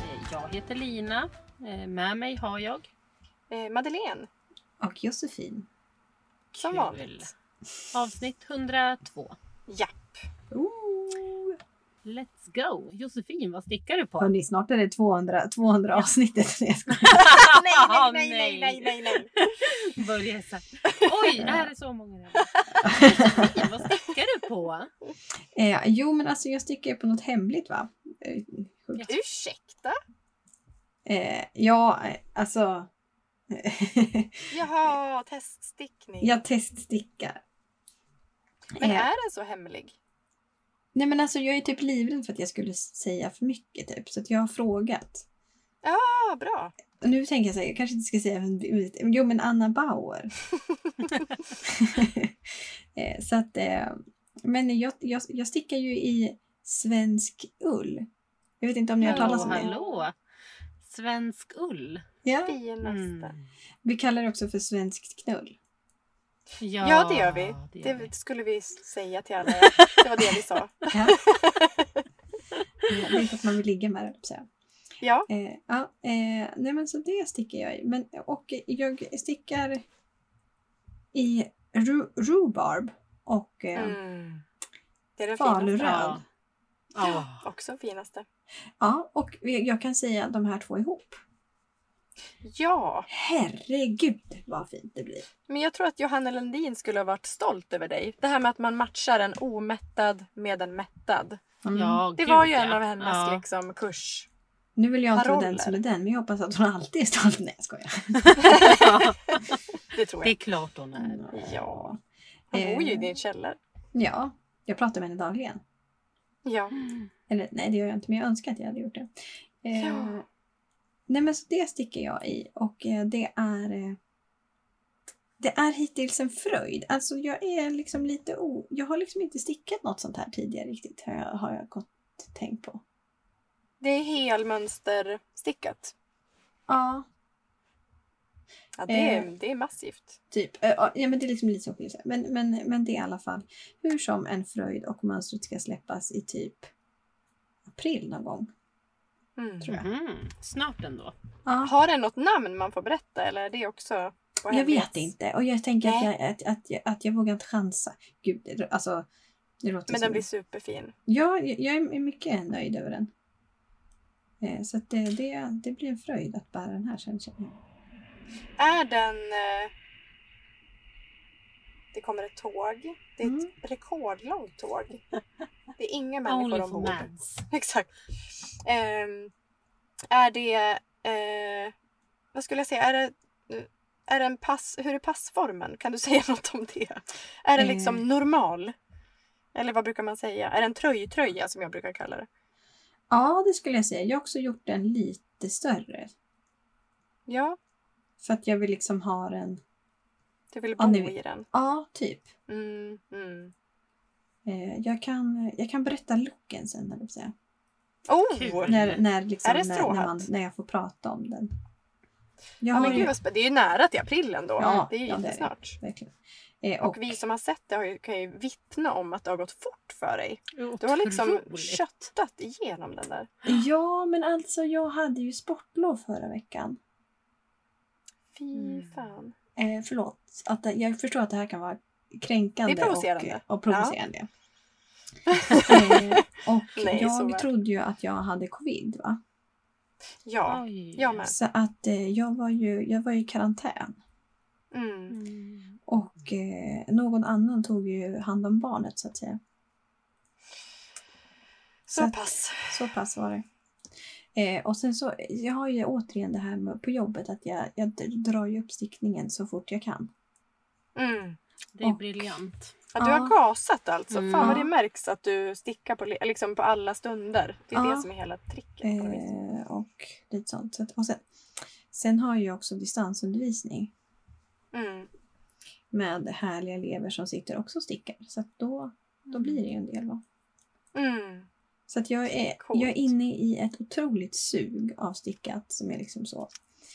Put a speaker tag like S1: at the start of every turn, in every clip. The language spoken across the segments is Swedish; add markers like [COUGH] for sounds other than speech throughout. S1: Eh, Jag heter Lina. Eh, Med mig har jag...
S2: Eh, Madeleine,
S3: Och Josefin.
S2: som
S1: Kul.
S2: vanligt.
S1: Avsnitt 102.
S2: Japp.
S3: Ooh.
S1: Let's go! Josefin, vad stickar du på?
S3: Hörni, snart är det 200, 200 avsnittet. Nej, jag skojar.
S1: Ja, [LAUGHS] Ah,
S2: nej, nej, nej, nej, nej, nej.
S1: Börja så här. Oj, är det så många där? Josefin, vad stickar du på?
S3: [LAUGHS] eh, jo, men alltså jag sticker på något hemligt va? Eh, sjukt.
S2: Ursäkta?
S3: Eh, ja, eh, alltså. [LAUGHS]
S2: Jaha, teststickning.
S3: jag teststickar.
S2: Men
S3: Eh,
S2: är den så hemlig?
S3: Nej men alltså jag är typ livrädd för att jag skulle säga för mycket typ. Så att jag har frågat.
S2: ah, bra.
S3: Och nu tänker jag så här, jag kanske inte ska säga men- Jo men
S1: [LAUGHS]
S3: Anna Bauer. Eh, så att, eh, men jag, jag, jag stickar ju i svensk ull. Jag vet inte om ni har hört talas om
S1: Hallå,
S3: det.
S1: hallå! Svensk ull.
S3: Ja,
S2: Finaste.
S1: Mm.
S3: vi kallar det också för
S1: [LAUGHS]
S3: svenskt knull.
S1: Ja,
S2: Ja, det gör vi.
S1: det
S2: Det,
S1: gör vi.
S2: skulle vi säga
S1: [LAUGHS]
S2: till alla. Det var det vi sa.
S3: Ja. Ja, det är för att man vill ligga med det, höll jag på att säga.
S2: Ja,
S3: Eh, ja, eh, nej men så det stickar jag i. Men, och jag stickar i ru, rhubarb och eh,
S2: Mm. Det är den
S3: faluröd.
S2: finaste.
S1: Ja. Ja.
S2: Också den finaste.
S3: Ja, och jag kan säga de här två ihop.
S2: Ja,
S3: Herregud vad fint det blir.
S2: men jag tror att Johanna Lundin skulle ha varit stolt över dig. Det här med att man matchar en omättad med en mättad.
S3: Mm.
S1: Ja,
S2: Det
S1: gud,
S2: var ju
S1: ja.
S2: en av hennes
S1: Ja.
S2: liksom, kurs.
S3: Nu vill jag inte vara
S2: Paroller.
S3: den som är den, men jag hoppas att hon alltid är stolt. Nej, jag skojar.
S2: Det tror
S1: [LAUGHS] Det
S2: jag.
S1: är klart hon är.
S2: Ja.
S1: Eh.
S2: Hon bor ju i din källare.
S3: Ja, jag pratar med henne dagligen.
S2: Ja.
S3: Eller nej, det gör jag inte, men jag önskar att jag hade gjort det. Eh,
S2: Ja.
S3: Nej, men så det sticker jag i och eh, det är eh, det är hittills en fröjd. Alltså jag är liksom lite o... Jag har liksom inte stickat något sånt här tidigare riktigt, har jag, har jag gått tänkt på.
S2: Det är helmönsterstickat.
S3: Ja,
S2: Ja, det, är,
S3: Eh.
S2: det är massivt.
S3: Typ. Eh, Ja, men det är liksom lite som skiljer sig. Men, men, men det är i alla fall hur som en fröjd och mönstret ska släppas i typ april någon gång.
S2: Mm.
S3: Tror jag.
S1: Mhm, Snart ändå.
S3: Ja,
S2: Har den något namn man får berätta eller är det också på
S3: jag
S2: hemligt?
S3: vet inte och jag tänker att
S2: Nej.
S3: jag, att, att, jag, att jag vågar inte chansa. Gud, det- alltså. Det låter
S2: Men
S3: som...
S2: den blir superfin.
S3: Ja, jag jag är mycket nöjd över den. Eh, Så att det, det, det blir en fröjd att bära den här sen känner jag.
S2: Är den... eh, Det kommer ett tåg. Det är ett
S3: Mm.
S2: rekordlångt tåg. Det är
S3: [LAUGHS]
S2: inga
S1: Only
S2: människor
S1: for
S2: ombord.
S1: mans.
S2: [LAUGHS] Exakt. Ehm, är det... Eh, vad skulle jag säga? Är det, eh, är det en pass, hur är passformen? Kan du [LAUGHS] säga något om det? Är den liksom
S3: Eh.
S2: normal? Eller vad brukar man säga? Är det en tröjtröja som jag brukar kalla det?
S3: Ja, det skulle jag säga. Jag har också gjort den lite större.
S2: Ja,
S3: För att jag vill liksom ha den.
S2: du vill
S3: Ja,
S2: bo
S3: nu-
S2: i den.
S3: Ja, typ.
S2: Mm, mm.
S3: Eh, jag, kan, jag kan berätta looken sen, höll jag på att säga.
S2: Oh!
S1: Kul.
S3: När, när, liksom,
S2: Mm. Är det
S3: när, när, man,
S2: stråhatt?
S3: när jag får prata om den.
S2: Ja,
S3: Jag har
S2: men
S3: ju-
S2: gud vad spä- Det är ju nära till april ändå.
S3: Ja,
S2: det är ju
S3: ja, det är det.
S2: jättesnart.
S3: verkligen. Eh, och,
S2: Och vi som har sett det har ju, kan ju vittna om att det har gått fort för dig. Du har liksom
S1: Otroligt.
S2: köttat igenom den där.
S3: Ja, men alltså jag hade ju sportlov förra veckan.
S2: Fy
S1: Mm.
S2: fan.
S3: Eh, förlåt, att, det- jag förstår att det här kan vara kränkande
S2: Det är provocerande.
S3: och,
S2: [LAUGHS]
S3: och provocerande. eh, och
S2: Nej, så
S3: jag
S2: väl.
S3: trodde ju att jag hade covid va?
S2: Ja.
S1: Oj.
S2: Jag med.
S3: Så att eh, jag, var ju, jag var ju i karantän.
S2: Mm.
S1: Mm.
S3: Och eh, någon annan tog ju hand om barnet så att säga. Så
S2: Så
S3: att-
S2: pass.
S3: Så pass var det. Eh, och sen så, jag har ju återigen det här med, på jobbet att jag, jag d- drar ju upp stickningen så fort jag kan.
S2: Mm.
S1: Det är
S3: Och-
S1: briljant.
S2: Ja, du
S3: Ja.
S2: har gasat alltså.
S1: Mm.
S2: Fan vad
S3: Ja.
S2: det märks att du stickar på, li- liksom på alla stunder. Det är
S3: Ja.
S2: det som är hela tricket. på något vis.
S3: Eh, och lite sånt. Så att, och sen, sen har jag ju också distansundervisning
S1: Eh.
S2: Mm.
S3: med härliga elever som sitter också och stickar. Så att då, då blir det ju en del. Va?
S2: Mm.
S3: Så att jag, är, jag
S2: Coolt.
S3: är inne i ett otroligt sug av stickat som är liksom så.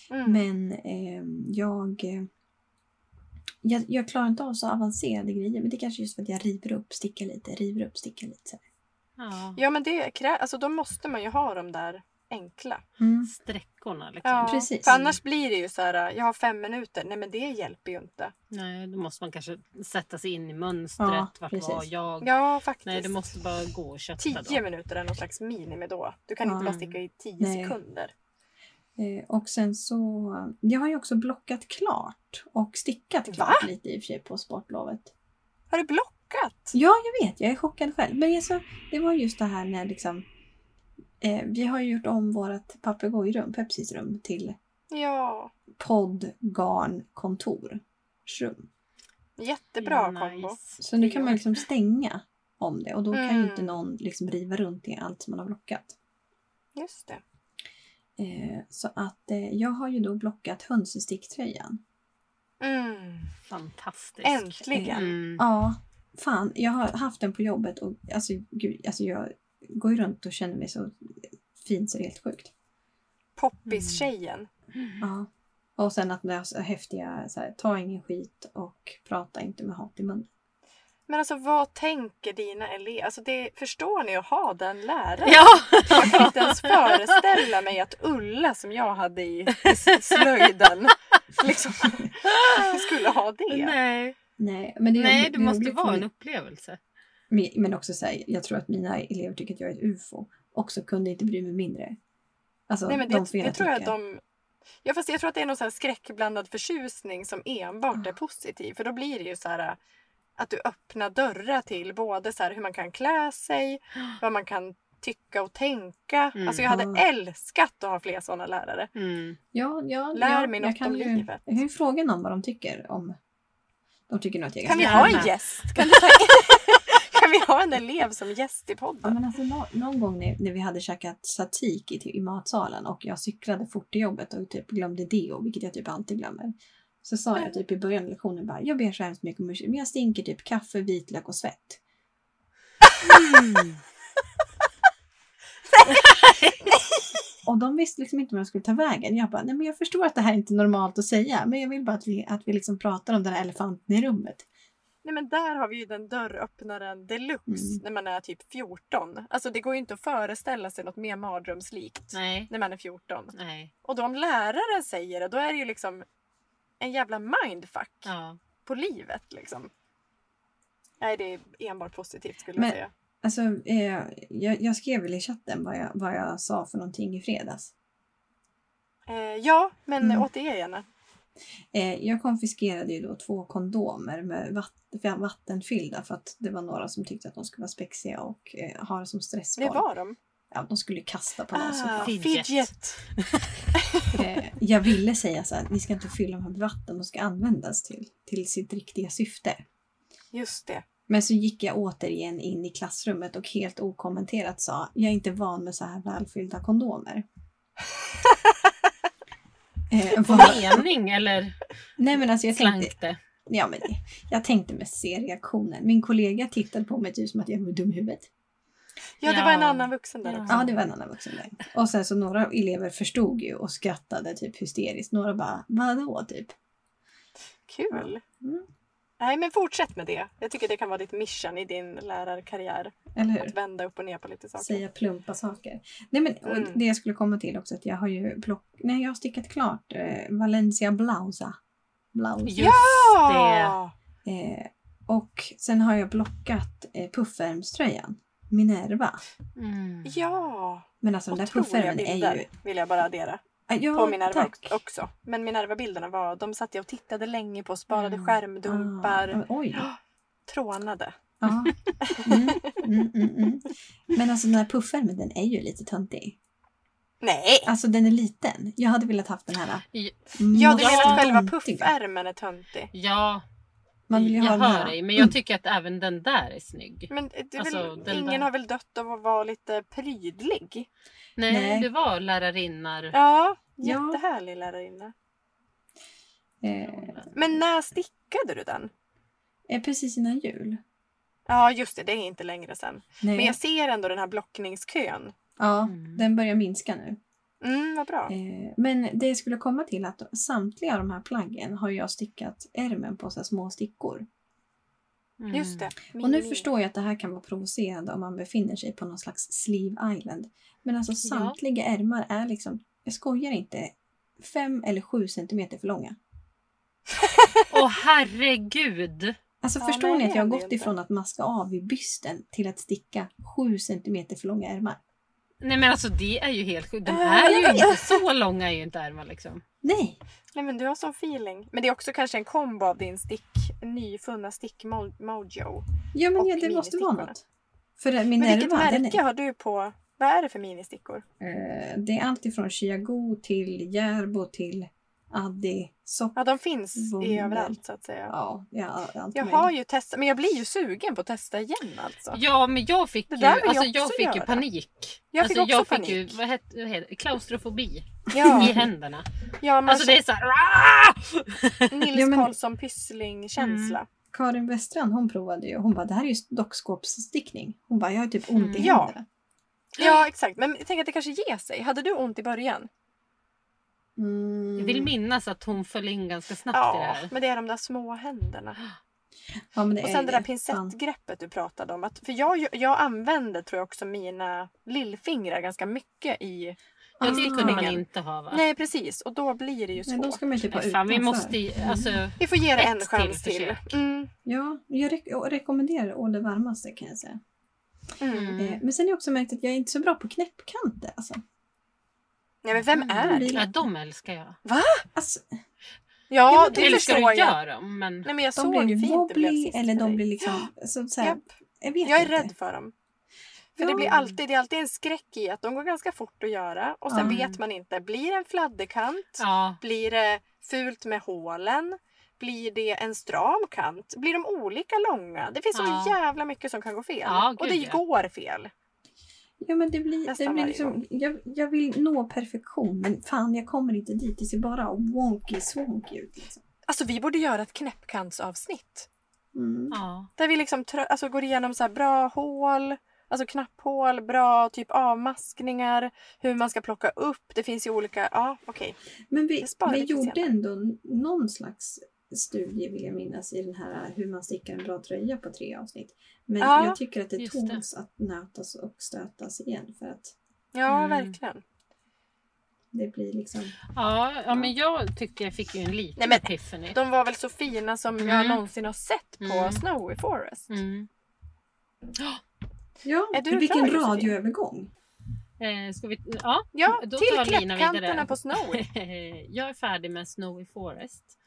S2: Mm.
S3: Men ehm, jag, eh, jag, jag klarar inte av så avancerade grejer. Men det är kanske just för att jag river upp, stickar lite, river upp, stickar lite. så här.
S1: Ja.
S2: Ja men det krä- alltså, då måste man ju ha de där enkla.
S3: Mm.
S1: Sträckorna liksom.
S2: Ja,
S3: Precis.
S2: För annars blir det ju så här, jag har fem minuter. Nej men det hjälper ju inte.
S1: Nej, då måste man kanske sätta sig in i mönstret.
S3: Ja,
S1: Vart
S3: precis.
S1: var jag?
S2: Ja faktiskt.
S1: Nej, du måste bara gå och kötta då.
S2: Tio minuter är någon slags minimi då. Du kan inte
S1: Ja.
S2: bara sticka i tio
S3: Nej.
S2: sekunder.
S3: Eh, Och sen så, jag har ju också blockat klart och stickat klart lite i och för sig på sportlovet.
S2: Har du blockat?
S3: Ja, jag vet, jag är chockad själv. Men alltså, det var just det här när liksom, eh, vi har ju gjort om vårt papegojrum, Pepsis rum, till
S2: Ja.
S3: poddgarnkontorsrum.
S2: Jättebra
S1: Nice.
S2: kombo.
S3: Så nu
S2: Det
S3: kan
S2: gör
S3: man liksom stänga om det och då kan ju inte
S2: Mm.
S3: någon liksom riva runt i allt som man har blockat.
S2: Just det.
S3: Eh, så att eh, jag har ju då blockat hönsesticktröjan.
S2: Mm.
S1: Fantastiskt.
S2: Äntligen.
S1: Mm.
S3: Ja, fan. Jag har haft den på jobbet och alltså, gud, alltså jag går ju runt och känner mig så fin så det är helt sjukt.
S2: Poppis-tjejen.
S1: Mm.
S3: Ja. Och sen att det är så häftiga, så här, ta ingen skit och prata inte med hat i munnen.
S2: Men alltså vad tänker dina elever? Alltså det, förstår ni att ha den läraren?
S1: Ja!
S2: Jag kan inte ens föreställa mig att Ulla som jag hade i, i s- slöjden liksom, [LAUGHS] skulle ha det.
S1: Nej,
S3: Nej, men det är
S1: Nej det
S3: är
S1: måste
S3: roligt
S1: vara
S3: för
S1: en
S3: mig.
S1: upplevelse.
S3: Men- Men också så här, jag tror att mina elever tycker att jag är ett ufo. Också kunde inte bry mig mindre. Alltså,
S2: Nej men
S3: de
S2: det,
S3: får gärna
S2: det tror jag att
S3: tycka.
S2: de... Ja, fast jag tror att det är någon så här skräckblandad förtjusning som enbart är
S3: Mm.
S2: positiv. För då blir det ju så här äh, att du öppnar dörrar till både så här hur man kan klä
S3: [GASPS]
S2: sig, vad man kan tycka och tänka.
S1: Mm.
S2: Alltså jag hade
S3: Ja.
S2: [LAUGHS]
S3: alltså, typ
S2: Mm.
S3: typ Mm. liksom liksom Mm.
S2: typ Alltså, liksom liksom.
S3: [LAUGHS] Alltså, eh,
S2: Eh,
S3: Eh, eh,
S2: Ah, [LAUGHS]
S3: eh, Eh,
S1: Mm.
S2: [LAUGHS] Mm, Just det.
S3: alltså typ typ eh, Eh, Mm. alltså, Ah, Mm. Ah, Mm, alltså, Alltså, äh, Eh, Mm. Eh, Och nu
S2: Mini.
S3: förstår jag att det här kan vara provocerande om man befinner sig på någon slags sleeve island. Men alltså samtliga ärmar är liksom, jag skojar inte, fem eller sju centimeter för långa.
S1: Åh herregud!
S3: Alltså
S2: Ja,
S3: förstår
S2: nej,
S3: ni att
S2: det
S3: jag har
S2: händer
S3: gått
S2: ju inte.
S3: ifrån att maska av vid bysten till att sticka sju centimeter för långa ärmar?
S1: Nej men alltså det är ju helt sjukt. De
S2: Ja,
S1: är
S2: jag
S1: ju inte så långa är ju inte ärmar liksom.
S3: Nej!
S2: Nej men du har sån feeling. Men det är också kanske en kombo av din stick, nyfunna stick-mojo.
S3: Ja men
S2: Och
S3: ja, det måste vara
S2: ministickorna.
S3: något. För eh, min
S2: Men vilket
S3: ärma, den
S2: märke
S3: är,
S2: har du på, vad är det för ministickor?
S3: eh, det är allt ifrån Chiago till Järbo till Addi, Sock.
S2: Ja de finns i
S3: Wunder.
S2: överallt så att säga.
S3: Ja, ja allt
S2: Jag
S3: möjligt.
S2: har ju testat, men jag blir ju sugen på att testa igen
S3: [LAUGHS]
S2: alltså.
S1: Ja men jag fick
S2: Det
S1: ju,
S2: där vill jag
S1: alltså, jag
S2: också
S1: fick ju
S2: göra.
S1: panik.
S2: Jag fick
S1: alltså,
S2: också
S1: jag fick
S2: panik.
S1: ju vad heter, vad heter, klaustrofobi i
S2: Ja, Mm.
S1: händerna.
S2: ja man
S1: Alltså det är såhär...
S2: Nils
S3: Ja, men- Mm.
S2: Karlsson Pyssling-känsla.
S3: Karin Westrand hon provade ju, hon bara det här är ju dockskåpsstickning. Hon bara jag har typ ont i
S1: Mm.
S2: Ja.
S3: händerna.
S2: Ja exakt, men tänk att det kanske ger sig. Hade du ont i början?
S3: Mm.
S1: Jag vill minnas att hon föll in ganska snabbt i det
S2: Ja,
S1: här.
S2: men det är de där små händerna.
S3: ja, men det
S2: Och
S3: är
S2: sen
S3: ju
S2: det där
S3: Fan.
S2: pincettgreppet du pratade om. Att, för jag, jag använder tror jag också mina lillfingrar ganska mycket i...
S1: Ja, det
S3: Ah.
S1: kunde man inte ha va?
S2: Nej precis, och då blir det ju
S3: Nej,
S2: svårt.
S3: då ska man ju typ ha
S1: Nej, fan, vi
S3: utanför.
S1: måste ju, alltså,
S2: Vi får ge det
S1: Ett
S2: en chans
S1: till
S2: till.
S1: försök.
S2: Mm,
S3: Ja, jag, rek- jag rekommenderar å det varmaste kan jag säga.
S2: mm.
S1: mm.
S3: Eh, men sen har jag också märkt att jag är inte så bra på knäppkanter. Alltså.
S2: Nej men vem
S1: Mm.
S2: är det?
S1: Ja, de älskar jag.
S3: alltså
S2: Ja, det
S1: älskar
S2: förstår
S1: att
S2: jag.
S1: göra dem men...
S2: Nej men jag
S3: de
S2: såg
S3: blir
S2: ju fint det blev
S3: wobbly
S2: sist
S3: eller
S2: för
S3: de
S2: dig.
S3: blir liksom... Så, så här,
S2: Japp.
S3: Jag vet
S2: Jag är
S3: inte.
S2: rädd för dem. För
S3: Ja.
S2: det, blir alltid, det är alltid en skräck i att de går ganska fort att göra och sen
S1: Mm.
S2: vet man inte. Blir det en fladderkant?
S1: Ja.
S2: Blir det fult med hålen? Blir det en stram kant? Blir de olika långa? Det finns
S1: Ja.
S2: så jävla mycket som kan gå fel.
S1: Ja,
S2: och
S1: gud,
S2: det
S1: ja.
S2: går fel.
S3: Ja, men det blir, det
S2: Nästan
S3: blir
S2: varje
S3: liksom, jag, jag vill nå perfektion men fan jag kommer inte dit. Det ser bara wonky swonky ut. Liksom.
S2: Alltså vi borde göra ett knäppkantsavsnitt.
S3: Mm.
S1: ja.
S2: Där vi liksom trö- alltså, går igenom så här bra hål, alltså knapphål, bra typ avmaskningar, hur man ska plocka upp. Det finns ju olika, ja okej.
S3: Men vi,
S2: Jag sparar
S3: vi
S2: lite
S3: gjorde
S2: senare.
S3: ändå n- någon slags studie vill jag minnas i den här hur man stickar en bra tröja på tre avsnitt. Men
S2: Ja,
S3: jag tycker att det
S1: just
S3: tåls att nötas och stötas igen för att
S2: Ja
S1: Mm.
S2: verkligen.
S3: det blir liksom...
S1: Ja, ja, men jag tyckte jag fick ju en liten
S2: Nej, men-
S1: epiphany.
S2: De var väl så fina som
S1: Mm.
S2: jag någonsin har sett på
S1: Mm.
S2: Snowy Forest.
S1: Mm.
S3: Ja,
S2: Är du
S3: vilken
S2: klar, Josefin?
S3: radioövergång!
S1: Eh, ska vi... Ja, [LAUGHS]
S2: Ja,
S1: Då tar
S2: till
S1: Lina vidare.
S2: knäppkanterna på
S1: [LAUGHS]
S2: Snowy.
S1: jag är färdig med Snowy Forest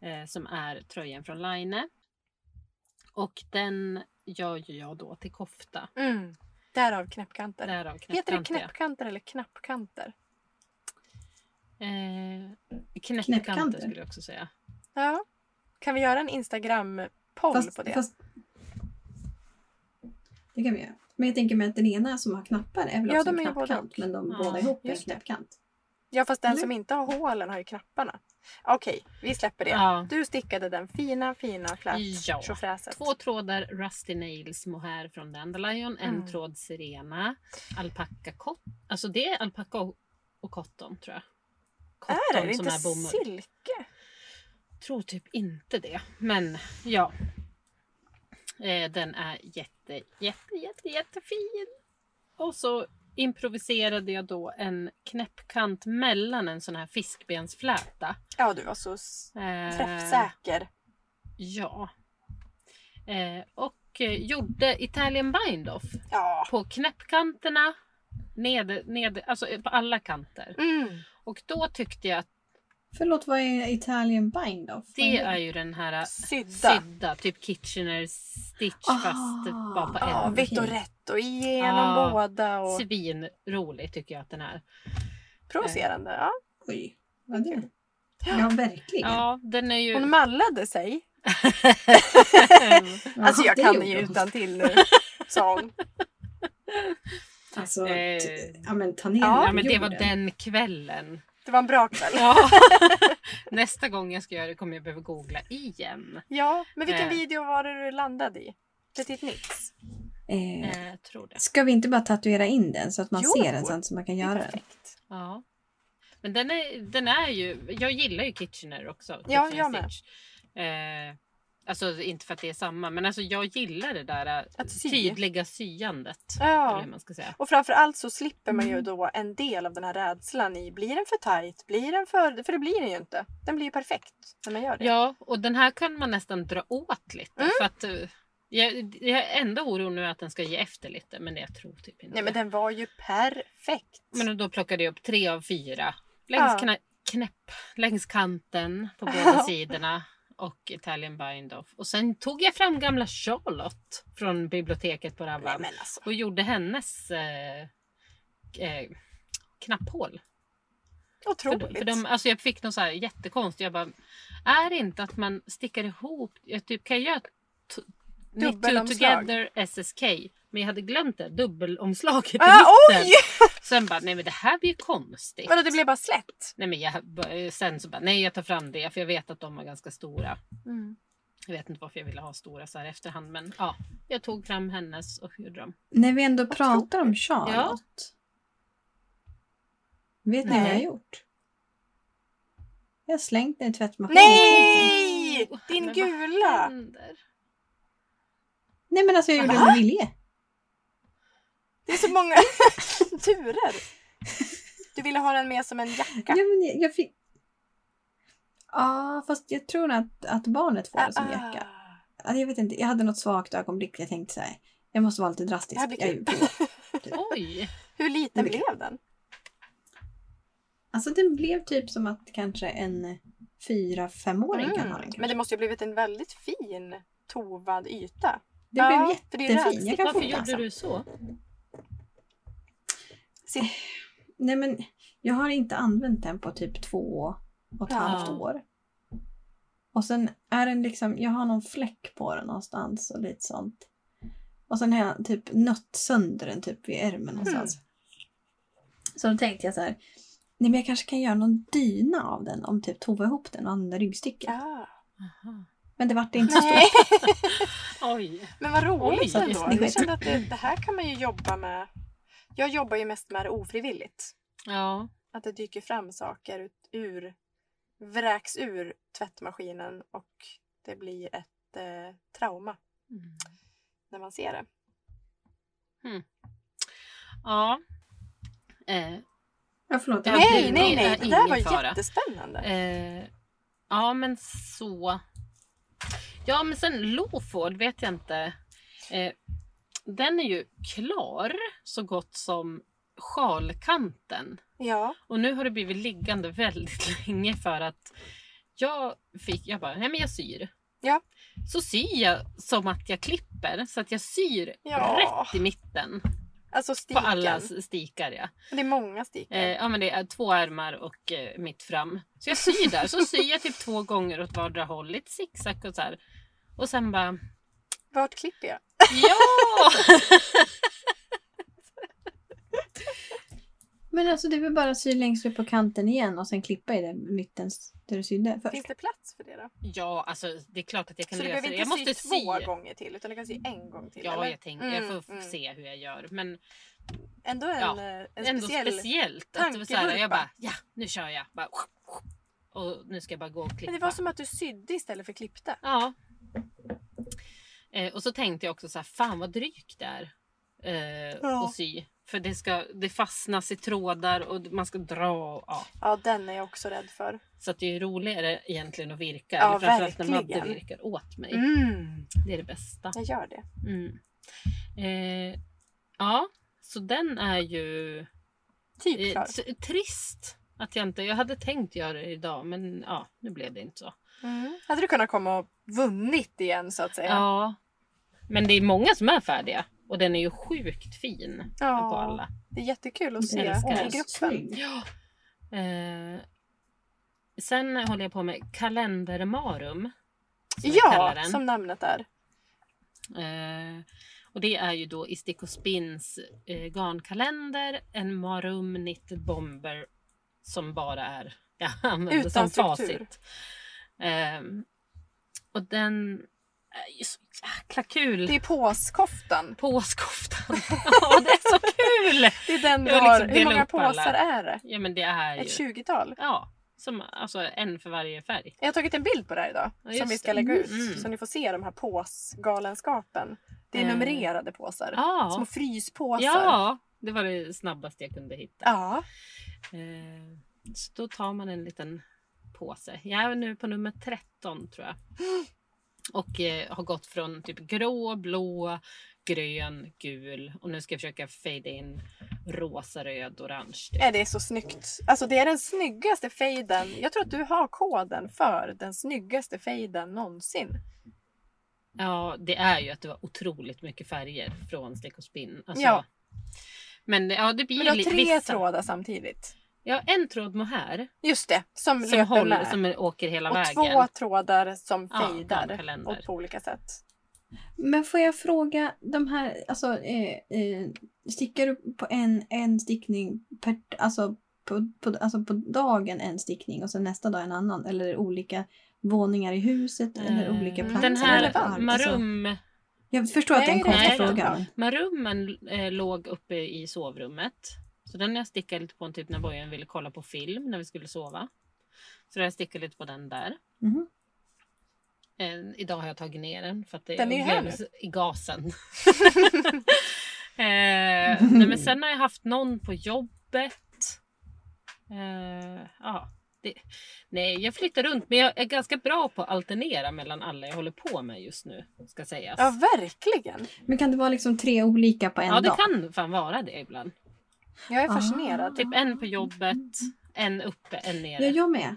S1: eh, som är tröjan från Line. Och den gör ju jag då till kofta.
S2: Mm. Därav knäppkanter.
S1: Därav
S2: Heter det
S1: knäppkanter, ja.
S2: knäppkanter eller knappkanter?
S1: Eh, knäppkanter,
S3: Knäppkanter.
S1: skulle jag också säga.
S2: Ja. Kan vi göra en Instagram-poll på det?
S3: fast- det kan vi göra. Men jag tänker mig att den ena som har knappar är väl
S2: Ja,
S3: också
S2: de
S3: en
S2: är ju både
S3: knappkant
S2: och.
S3: men de
S1: Ja,
S3: båda ihop är en
S2: just det.
S3: knappkant.
S2: Ja, fast den
S3: Eller?
S2: som inte har hålen har ju knapparna. Okej, vi släpper det.
S1: Ja.
S2: Du stickade den fina, fina flät
S1: Ja.
S2: tjofräset.
S1: Två trådar Rusty Nails mohair från Dandelion, en
S2: Mm.
S1: tråd Serena, alpacka kott. Alltså det är alpacka och, och cotton tror jag. Cotton
S2: Är det? Är det
S1: som
S2: inte
S1: är bomull.
S2: silke?
S1: tror typ inte det. Men ja. Eh, den är jätte, jätte, jätte, jättefin. Och så improviserade jag då en knäppkant mellan en sån här fiskbensfläta.
S2: Ja, du var så s-
S1: Eh,
S2: träffsäker.
S1: Ja. Eh, och eh, gjorde Italian bind-off
S2: Ja.
S1: på knäppkanterna, ned, ned, alltså eh, på alla kanter.
S2: Mm.
S1: Och då tyckte jag att
S3: Förlåt, vad är Italian bind off?
S1: det är ju den här
S2: Sydda.
S1: sydda, typ Kitchener stitch
S3: Ah.
S1: fast bara på en.
S2: Ja,
S3: vi-
S2: vitt och rätt och igenom
S1: Ja.
S2: båda. Och...
S1: Svinrolig tycker jag att den är.
S2: Provocerande. Ja.
S3: Oj, vad det är.
S2: Ja.
S3: Ja, verkligen.
S1: Ja, den är ju... [LAUGHS]
S2: Hon mallade sig.
S3: Ja,
S2: Alltså jag
S3: det
S2: kan
S3: gjorde
S2: ju
S3: hon.
S2: utan till nu, sa hon.
S3: Alltså,
S1: Eh,
S3: t- ja men tanera
S1: ja, men det var
S3: jorden.
S1: den kvällen.
S2: Det var en bra kväll.
S1: Ja. [LAUGHS] Nästa gång jag ska göra det kommer jag behöva googla igen.
S2: Ja, men vilken
S1: Eh.
S2: video var det du landade i? Petit Nix?
S3: Eh,
S1: Eh, tror det.
S3: Ska vi inte bara tatuera in den så att man
S2: Jo,
S3: ser den sen så man kan
S2: Det är
S3: göra den?
S2: perfekt.
S1: Ja. Men den är, den är ju... Jag gillar ju Kitchener också.
S2: Ja,
S1: Kitchener
S2: jag med.
S1: Stitch. Eh, Alltså inte för att det är samma men alltså jag gillar det där eh,
S2: Att sy.
S1: tydliga syandet. Eller
S2: Ja.
S1: hur man ska säga.
S2: Och framförallt så slipper man ju
S3: Mm.
S2: då en del av den här rädslan i blir den för tajt? Blir den för... För det blir den ju inte. Den blir ju perfekt när man gör det.
S1: Ja, och den här kan man nästan dra åt lite.
S2: Mm.
S1: För att, eh, jag, jag är ändå orolig nu att den ska ge efter lite men jag tror typ inte
S2: Nej men
S1: det.
S2: den var ju perfekt.
S1: Men då plockade jag upp tre av fyra. Längs
S2: Ja.
S1: knä, knäpp, längs kanten
S2: [LAUGHS]
S1: på båda sidorna. Och Italian Bind-Off. Och sen tog jag fram gamla Charlotte från biblioteket på
S2: Nej,
S1: Ravan.
S2: men alltså.
S1: Och gjorde hennes eh, eh, knapphål. För,
S2: Otroligt.
S1: för de, alltså jag fick något så här jättekonstigt. Jag bara, är det inte att man stickar ihop? Jag typ, kan jag göra t- knit two
S2: Dubbelomslag.
S1: together SSK? Men jag hade glömt det. Dubbelomslaget i [LAUGHS]
S2: ah,
S1: mitten.
S2: oj!
S1: Sen bara, nej men det här blir ju konstigt.
S2: Vadå det blev bara slätt?
S1: Nej men jag, bara- eh, sen så bara, nej jag tar fram det för jag vet att de var ganska stora. Jag vet inte varför jag ville ha stora så här efterhand men ja. Jag tog fram hennes och gjorde dem.
S3: När vi ändå
S2: Otroligt.
S3: pratar om Charlotte. Vet ni vad jag har
S1: Nej.
S3: gjort? Jag har slängt den i tvättmaskinen.
S2: Nej!
S1: Oh,
S2: Din
S1: men Vad
S2: gula!
S1: händer?
S3: Nej men alltså jag gjorde
S2: Va?
S3: det med vilje.
S2: Det är så många [LAUGHS] turer. Du ville ha den med som en
S3: Ja,
S2: jacka.
S3: men jag, jag fick... Ja, fast jag tror nog att, att barnet får det som jacka.
S2: Ah.
S3: Alltså, jag vet inte, jag hade något svagt ögonblick. Jag tänkte så här, jag måste vara lite drastisk.
S2: Det här blir
S3: Jag
S2: kul.
S3: gjorde så.
S1: Oj!
S2: Hur liten
S3: Det blir-
S2: blev den?
S3: Alltså den blev typ som att kanske en fyra femåring kan ha den.
S2: Mm.
S3: kanske.
S2: Men det måste ju ha blivit en väldigt fin tovad yta.
S3: Det
S2: Ja,
S3: blev
S2: för det är
S3: jättefin. Jag
S2: rädsligt.
S3: kan
S1: Varför
S3: fota
S1: gjorde
S3: sen.
S1: du så?
S2: Sitt- [LAUGHS]
S3: Nej men jag har inte använt den på typ två och ett
S2: Ja.
S3: halvt år. Och sen är den liksom, jag har någon fläck på den någonstans och lite sånt. Och sen har jag typ nött sönder den typ vid
S2: Mm.
S3: ärmen någonstans. Så då tänkte jag så här, nej men jag kanske kan göra någon dyna av den om typ tova ihop den och använda ryggstycket.
S2: Ah.
S1: Aha.
S3: Men det
S2: [LAUGHS]
S3: vart inte så stort.
S2: Nej,
S1: Oj!
S2: men vad roligt
S1: Oj,
S2: ändå.
S3: snyggt.
S2: Jag kände att det, det här kan man ju jobba med. Jag jobbar ju mest med det ofrivilligt.
S1: Ja.
S2: Att det dyker fram saker ut ur, vräks ur tvättmaskinen och det blir ett eh, trauma
S1: Mm.
S2: när man ser det.
S1: Ja. Eh,
S3: Ja, förlåt.
S1: Ja,
S2: nej,
S1: det-
S2: nej,
S1: det
S2: nej.
S1: är
S2: Det där var
S1: ingen fara.
S2: jättespännande.
S1: Eh, ja, men så. Ja, men sen Loford vet jag inte. Eh, den är ju klar så gott som sjalkanten.
S2: Ja.
S1: Och nu har det blivit liggande väldigt [LAUGHS] länge för att jag fick, jag bara, nej men jag syr.
S2: Ja.
S1: Så syr jag som att jag klipper, så att jag syr
S2: Ja.
S1: rätt i mitten
S2: Alltså
S1: på
S2: stiken.
S1: alla s- stikar. Ja.
S2: Det är många stikar.
S1: Eh, ja men det är två ärmar och eh, mitt fram. Så jag syr där, så syr jag typ två [LAUGHS] gånger åt vardera håll, lite zigzag och så här. Och sen bara,
S2: Vart klipper jag? [LAUGHS]
S1: ja!
S3: Men alltså det är väl bara att sy längst upp på kanten igen och sen klippa i den mitten där du sydde
S1: eh,
S3: först.
S2: Finns det plats för det då?
S1: Ja, alltså det är klart att jag kan
S2: Så du
S1: lösa
S2: behöver
S1: det.
S2: inte
S1: Jag måste
S2: sy två
S1: sy.
S2: gånger till utan du kan sy en gång till.
S1: Ja,
S2: eller?
S1: jag, tänker, jag
S2: Mm,
S1: får
S2: mm.
S1: se hur jag gör. Men
S2: Ändå en,
S1: Ja,
S2: eh, en
S1: ändå
S2: speciell...
S1: speciellt. Att det var så här, jag
S2: tankevurpa.
S1: bara, ja nu kör jag. Bara, och nu ska jag bara gå och klippa.
S2: Men det var som att du sydde istället för klippte.
S1: Ja. Eh, och så tänkte jag också så här, fan vad drygt det är eh,
S2: Ja.
S1: att sy. För det, ska, det fastnas i trådar och man ska dra. Och, ja.
S2: Ja, den är jag också rädd för.
S1: Så att det är ju roligare egentligen att virka.
S2: Ja,
S1: eller framförallt när Madde
S2: verkligen.
S1: virkar åt mig.
S2: Mm.
S1: Det är det bästa.
S2: Jag gör det.
S1: Mm. Eh, ja, så den är ju
S2: Typ
S1: eh,
S2: klar.
S1: s- trist. Att jag, inte, jag hade tänkt göra det idag men ja, nu blev det inte så.
S2: Mm. Hade du kunnat komma och vunnit igen så att säga?
S1: Ja. Men det är många som är färdiga och den är ju sjukt fin
S2: Ja.
S1: på alla.
S2: Det är jättekul att se
S1: Jag älskar
S2: i
S1: det.
S2: gruppen.
S1: Ja. Eh, sen håller jag på med kalendermarum. som jag kallar
S2: Ja,
S1: den.
S2: som namnet är.
S1: Eh, och det är ju då i Stick och Spins eh, garnkalender, en marum knitted bomber som bara är, jag [LAUGHS] använder
S2: Utan
S1: som
S2: struktur.
S1: facit. Eh, och den är ju så jäkla kul.
S2: Det är påskoftan. [LAUGHS]
S1: Påskoftan. ja, det är så kul!
S2: Det är den du
S1: Jag vill
S2: har.
S1: liksom
S2: Hur
S1: dela
S2: många
S1: upp alla.
S2: påsar är det?
S1: Ja men det är ju...
S2: Ett 20-tal?
S1: Ja. Som, alltså en för varje färg.
S2: Jag har tagit en bild på det här idag
S1: Ja,
S2: som
S1: just
S2: vi ska
S1: det.
S2: lägga ut.
S1: Mm.
S2: Så ni får se de här påsgalenskapen. Det är
S1: Eh.
S2: numrerade påsar. Små
S1: Ja.
S2: fryspåsar.
S1: ja, det var det snabbaste jag kunde hitta.
S2: Ja.
S1: Eh, så då tar man en liten påse. Jag är nu på nummer 13 tror jag. Och eh, har gått från typ grå, blå, grön, gul och nu ska jag försöka fade in rosa, röd, orange. typ.
S2: Är det är så snyggt. Alltså det är den snyggaste fejden. Jag tror att du har koden för den snyggaste fejden någonsin.
S1: Ja, det är ju att det var otroligt mycket färger från stick och spinn. Alltså,
S2: Ja.
S1: Men ja, det blir
S2: Men du har
S1: li-
S2: tre
S1: vissa-
S2: trådar samtidigt.
S1: Ja, en tråd mohair
S2: Just det, som,
S1: som,
S2: löper
S1: håller,
S2: med.
S1: som åker hela
S2: och
S1: vägen.
S2: två trådar som
S1: Ja,
S2: fejdar
S1: ramkalender.
S2: åt på olika sätt.
S3: Men får jag fråga, de här, alltså, eh, eh, stickar du på en, en stickning per, alltså, på, på, alltså på dagen en stickning och sen nästa dag en annan? Eller är det olika våningar i huset eller
S1: Eh,
S3: olika
S2: den
S3: platser?
S1: Den
S3: eller vad?
S1: här
S2: varmt,
S3: Alltså,
S1: marum...
S3: jag förstår att det är en
S2: Nej, nej,
S3: konstig
S1: nej,
S3: fråga.
S2: nej.
S3: men-
S1: Marummen eh, låg uppe i sovrummet. Så den har jag stickat lite på en typ när Bojan ville kolla på film när vi skulle sova. Så då har jag stickat lite på den där.
S3: Mhm.
S1: Eh, idag har jag tagit ner den för att det
S2: Den är ju här
S1: upplevs i gasen.
S2: [LAUGHS]
S1: eh, nej, men sen har jag haft någon på jobbet. Eh, ja, det, nej, jag flyttar runt men jag är ganska bra på att alternera mellan alla jag håller på med just nu. Ska sägas.
S2: Ja, verkligen.
S3: Men kan det vara liksom tre olika på en
S1: Ja, det
S3: dag?
S1: kan fan vara det ibland.
S2: Jag är
S3: Ah.
S2: fascinerad.
S1: Typ en på jobbet, en uppe, en nere.
S3: Ja, jag med.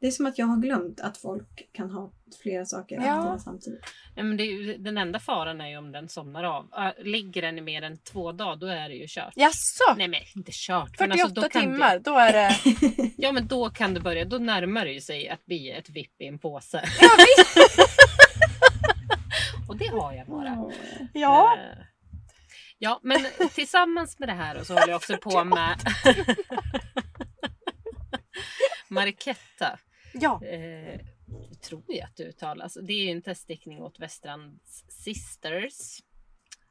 S3: Det är som att jag har glömt att folk kan ha flera saker att
S2: Ja.
S3: göra samtidigt.
S1: Ja, men det är ju, den enda faran är ju om den somnar av. Ja, Ligger den i mer än två dagar, då är det ju kört.
S2: Jaså?
S1: Nej, men inte kört. men
S2: 48
S1: alltså, då kan
S2: timmar,
S1: Det,
S2: då är det...
S1: ja, men då kan det börja. Då närmar det ju sig att bli ett vipp i en påse. [LAUGHS]
S2: Ja, visst.
S1: Och det har jag bara.
S3: Åh.
S2: ja.
S1: Eh, Ja, men tillsammans med det här och så håller jag också på med [LAUGHS] Marketta.
S2: ja.
S1: eh, tror jag att det uttalas. Det är ju en teststickning åt Västrands Sisters.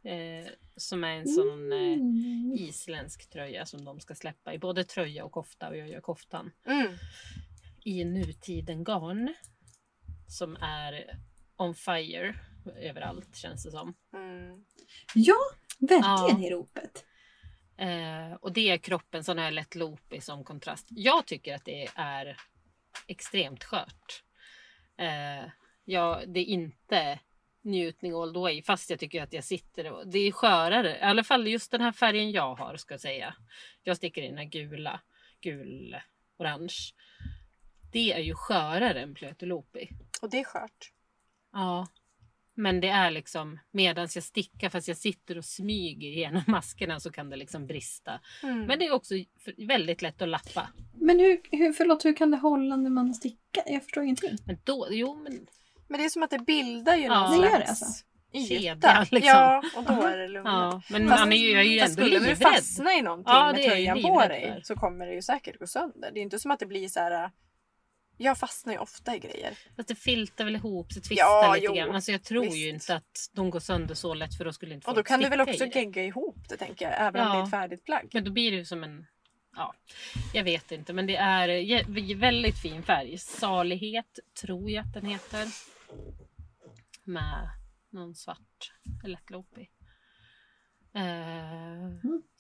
S1: Eh, som är en sån eh,
S3: Mm.
S1: isländsk tröja som de ska släppa i både tröja och kofta och jag gör koftan.
S2: Mm.
S1: I nutiden garn. Som är on fire överallt känns det som.
S2: Mm.
S3: Ja, verkligen
S1: Ja.
S3: i ropet.
S1: Eh, och det är kroppen, sån här lätt loopig som kontrast. Jag tycker att det är extremt skört. Eh, ja, det är inte njutning all the way, fast jag tycker att jag sitter och... Det är skörare, i alla fall just den här färgen jag har ska jag säga. Jag sticker i den här gula, gul-orange. Det är ju skörare än Plöty Loopy.
S2: Och det är skört.
S1: Ja. Men det är liksom medans jag stickar, fast jag sitter och smyger genom [LAUGHS] maskerna så kan det liksom brista.
S2: Mm.
S1: Men det är också för- väldigt lätt att lappa.
S3: Men hur, hur, förlåt, hur kan det hålla när man stickar? Jag förstår ingenting.
S1: Men då, jo men
S2: Men det är som att det bildar ju
S1: Ja.
S2: någon
S1: Det
S2: slags
S3: gör det alltså.
S2: yta.
S1: Kedja, liksom.
S2: Ja, och då är det lugnare.
S1: [LAUGHS] ja, men
S2: Fast-
S1: man är ju, jag är ju
S2: Fast
S1: ändå
S2: skulle du
S1: livrädd.
S2: fastna i någonting
S1: Ja, det
S2: med
S1: är jag
S2: tröjan
S1: ju
S2: på
S1: livrädd
S2: dig
S1: för.
S2: så kommer det ju säkert gå sönder. Det är inte som att det blir så här... äh, Jag fastnar ju ofta i grejer.
S1: Fast det filtar väl ihop sig, twistar
S2: Ja,
S1: lite
S2: jo,
S1: grann. Alltså jag tror ju
S2: visst.
S1: inte att de går sönder så lätt för då skulle inte
S2: Och
S1: folk
S2: då kan du väl
S1: sticka
S2: också
S1: i det.
S2: gegga ihop det tänker jag, även om det är
S1: Ja.
S2: ett färdigt plagg.
S1: Men då blir det ju som en... Ja, jag vet inte. Men det är jä- väldigt fin färg. Salighet tror jag att den heter. Med någon svart lättlopig. Eh,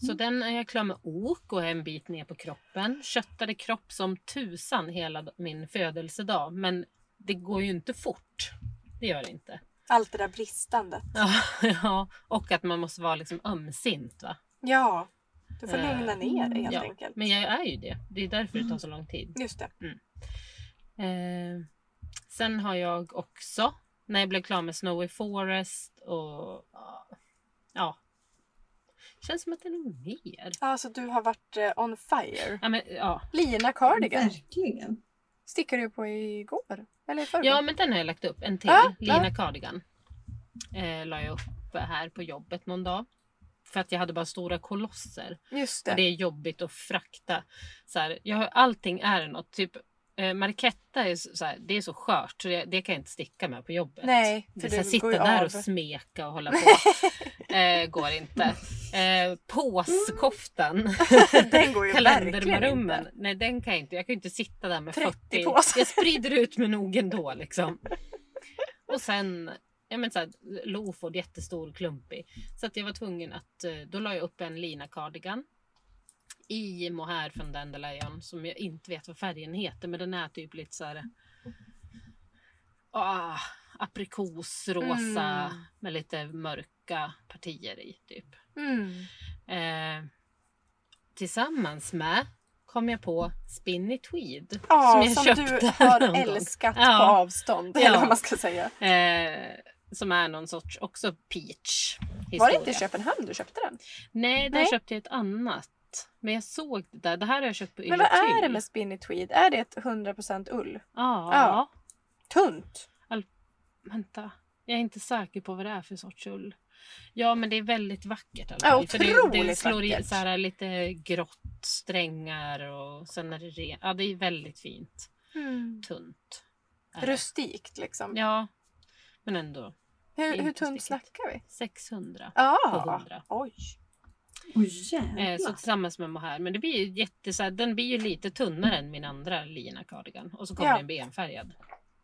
S1: Så den är jag klar med ok och en bit ner på kroppen. Köttade kropp som tusan hela d- min födelsedag. Men det går ju inte fort. Det gör det inte.
S2: Allt det där bristandet.
S1: Ja, [LAUGHS] ja. Och att man måste vara liksom ömsint. Va?
S2: Ja, du får
S1: Eh,
S2: lugna ner dig helt
S1: ja.
S2: enkelt.
S1: Men jag är ju det. Det är därför det tar så lång tid.
S2: Just det.
S1: Eh, sen har jag också, när jag blev klar med Snowy Forest och ja. Känns som att det är nog mer.
S2: Ja, så du har varit eh, on fire.
S1: Ja, men, ja.
S2: Lina Cardigan
S3: Verkligen.
S2: stickade du på igår. Eller i förrgår.
S1: ja, men den har jag lagt upp. En till.
S2: Ja,
S1: Lina
S2: ja.
S1: Cardigan. Eh, la jag upp här på jobbet någon dag. För att jag hade bara stora kolosser.
S2: Just
S1: Och
S2: det.
S1: det är jobbigt att frakta. Så här, jag, har- allting är något. Typ eh, Marketta är så så här, det är så skört så det, det kan jag inte sticka med på jobbet.
S2: Nej,
S1: Det
S2: för
S1: är så här,
S2: du
S1: sitta
S2: går ju
S1: där
S2: av. [LAUGHS]
S1: och smeka och hålla på. eh, går inte. Eh, påskoftan. [LAUGHS]
S2: Den Mm. går ju verkligen
S1: Kalendermarummen.
S2: inte.
S1: Nej den kan jag inte. Jag kan ju inte sitta där med
S2: 30
S1: 40.
S2: påsar.
S1: Jag sprider ut mig nog ändå liksom. Och sen, ja men såhär Loford jättestor klumpig. Så att jag var tvungen att, eh, då la jag upp en lina cardigan. I mohair från Dandelion som jag inte vet vad färgen heter men den är typ lite såhär ah, aprikosrosa
S2: Mm.
S1: med lite mörka partier i typ.
S2: Mm.
S1: Eh, tillsammans med kom jag på Spinny Tweed.
S2: Ja,
S1: jag
S2: som,
S1: köpte
S2: du har
S1: någon gång.
S2: älskat på
S1: Ja.
S2: avstånd. Eller
S1: Ja.
S2: vad man ska säga.
S1: Eh, som är någon sorts också peach
S2: Var
S1: historia.
S2: det inte i Köpenhamn du köpte den?
S1: Nej, där
S2: Nej.
S1: köpte jag ett annat. Men jag såg det där. Det här har jag köpt på
S2: Men vad
S1: Ylle
S2: är det
S1: Tyll.
S2: med spinny tweed? Är det ett 100% ull?
S1: Ja,
S2: Ja. Tunt?
S1: vänta. Jag är inte säker på vad det är för sorts ull. Ja, men det är väldigt vackert. i alla
S2: Ja,
S1: fall. För det, det
S2: otroligt
S1: slår i
S2: vackert.
S1: så här lite grått, strängar och sen är det rent. Ja, det är väldigt fint. Tunt. är det.
S2: Rustikt liksom.
S1: Mm. Ja, men ändå.
S2: hur hur
S1: inte
S2: tunt
S1: stickigt.
S2: snackar vi?
S1: 600. På
S2: Ja,
S1: hundra.
S2: oj.
S3: Oj
S1: Eh, så
S3: jävlar.
S1: tillsammans med mohair. Men det blir ju jätte, så här, den blir ju lite tunnare än min andra lina cardigan. Och så kommer
S2: Ja.
S1: det en benfärgad.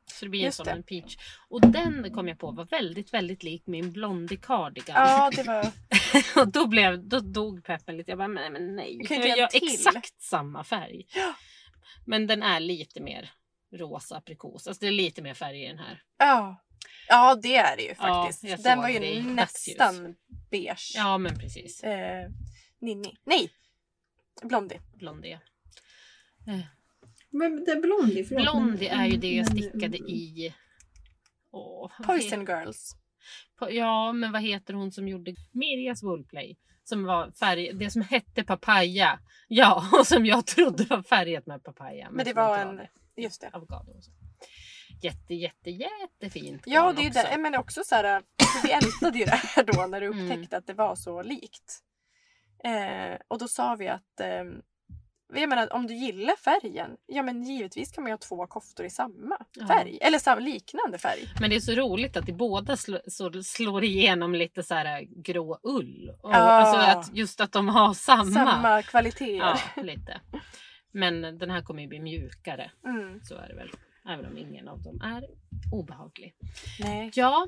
S1: Så det blir
S2: Just
S1: en
S2: det.
S1: sån en peach. Och den kom jag på var väldigt, väldigt lik min blondie cardigan.
S2: Ja, det var...
S1: [LAUGHS] och då, blev, då dog peppen lite. Jag bara, nej men nej.
S2: Du kan ju
S1: Jag
S2: inte göra
S1: gör
S2: en till.
S1: exakt samma färg.
S2: Ja.
S1: Men den är lite mer rosa aprikos. Alltså det är lite mer färg i den här.
S2: Ja. ja, det är det ju
S1: Ja,
S2: faktiskt.
S1: jag
S2: den
S1: såg
S2: var
S1: det i
S2: ju
S1: dagsljus.
S2: nästan beige.
S1: Ja men precis.
S2: Eh, ninni. Nej! Blondie.
S1: Blondie.
S3: Men det är Blondie, förlåt.
S1: Blondie
S3: men-
S1: är ju det jag
S3: men-
S1: stickade i... Åh, vad
S2: Mm. Poison Girls.
S1: Po- Ja, men vad heter hon som gjorde Mirjas Woolplay? Som var färg, det som hette papaya. Ja, [LAUGHS] och som jag trodde var färgat med papaya.
S2: Men det
S1: som
S2: var
S1: inte
S2: en...
S1: det.
S2: Just det.
S1: Avokado och så. Jätte, jätte, jättefint.
S2: Ja,
S1: garn
S2: det är ju
S1: också.
S2: det. Men också så här, för vi ältade ju det här då när du
S1: Mm.
S2: upptäckte att det var så likt. Eh, och då sa vi att ehm, jag menar, om du gillar färgen, ja men givetvis kan man ju ha två koftor i samma
S1: Ja.
S2: färg. Eller sam, liknande färg.
S1: Men det är så roligt att det båda slå, så slår igenom lite så här äh, grå ull. Och,
S2: Ja.
S1: Alltså att, just att de har samma.
S2: Samma kvaliteter.
S1: Ja, lite. Men den här kommer ju bli mjukare.
S2: Mm.
S1: Så är det väl. Även om ingen av dem är obehaglig.
S2: Nej.
S1: Ja,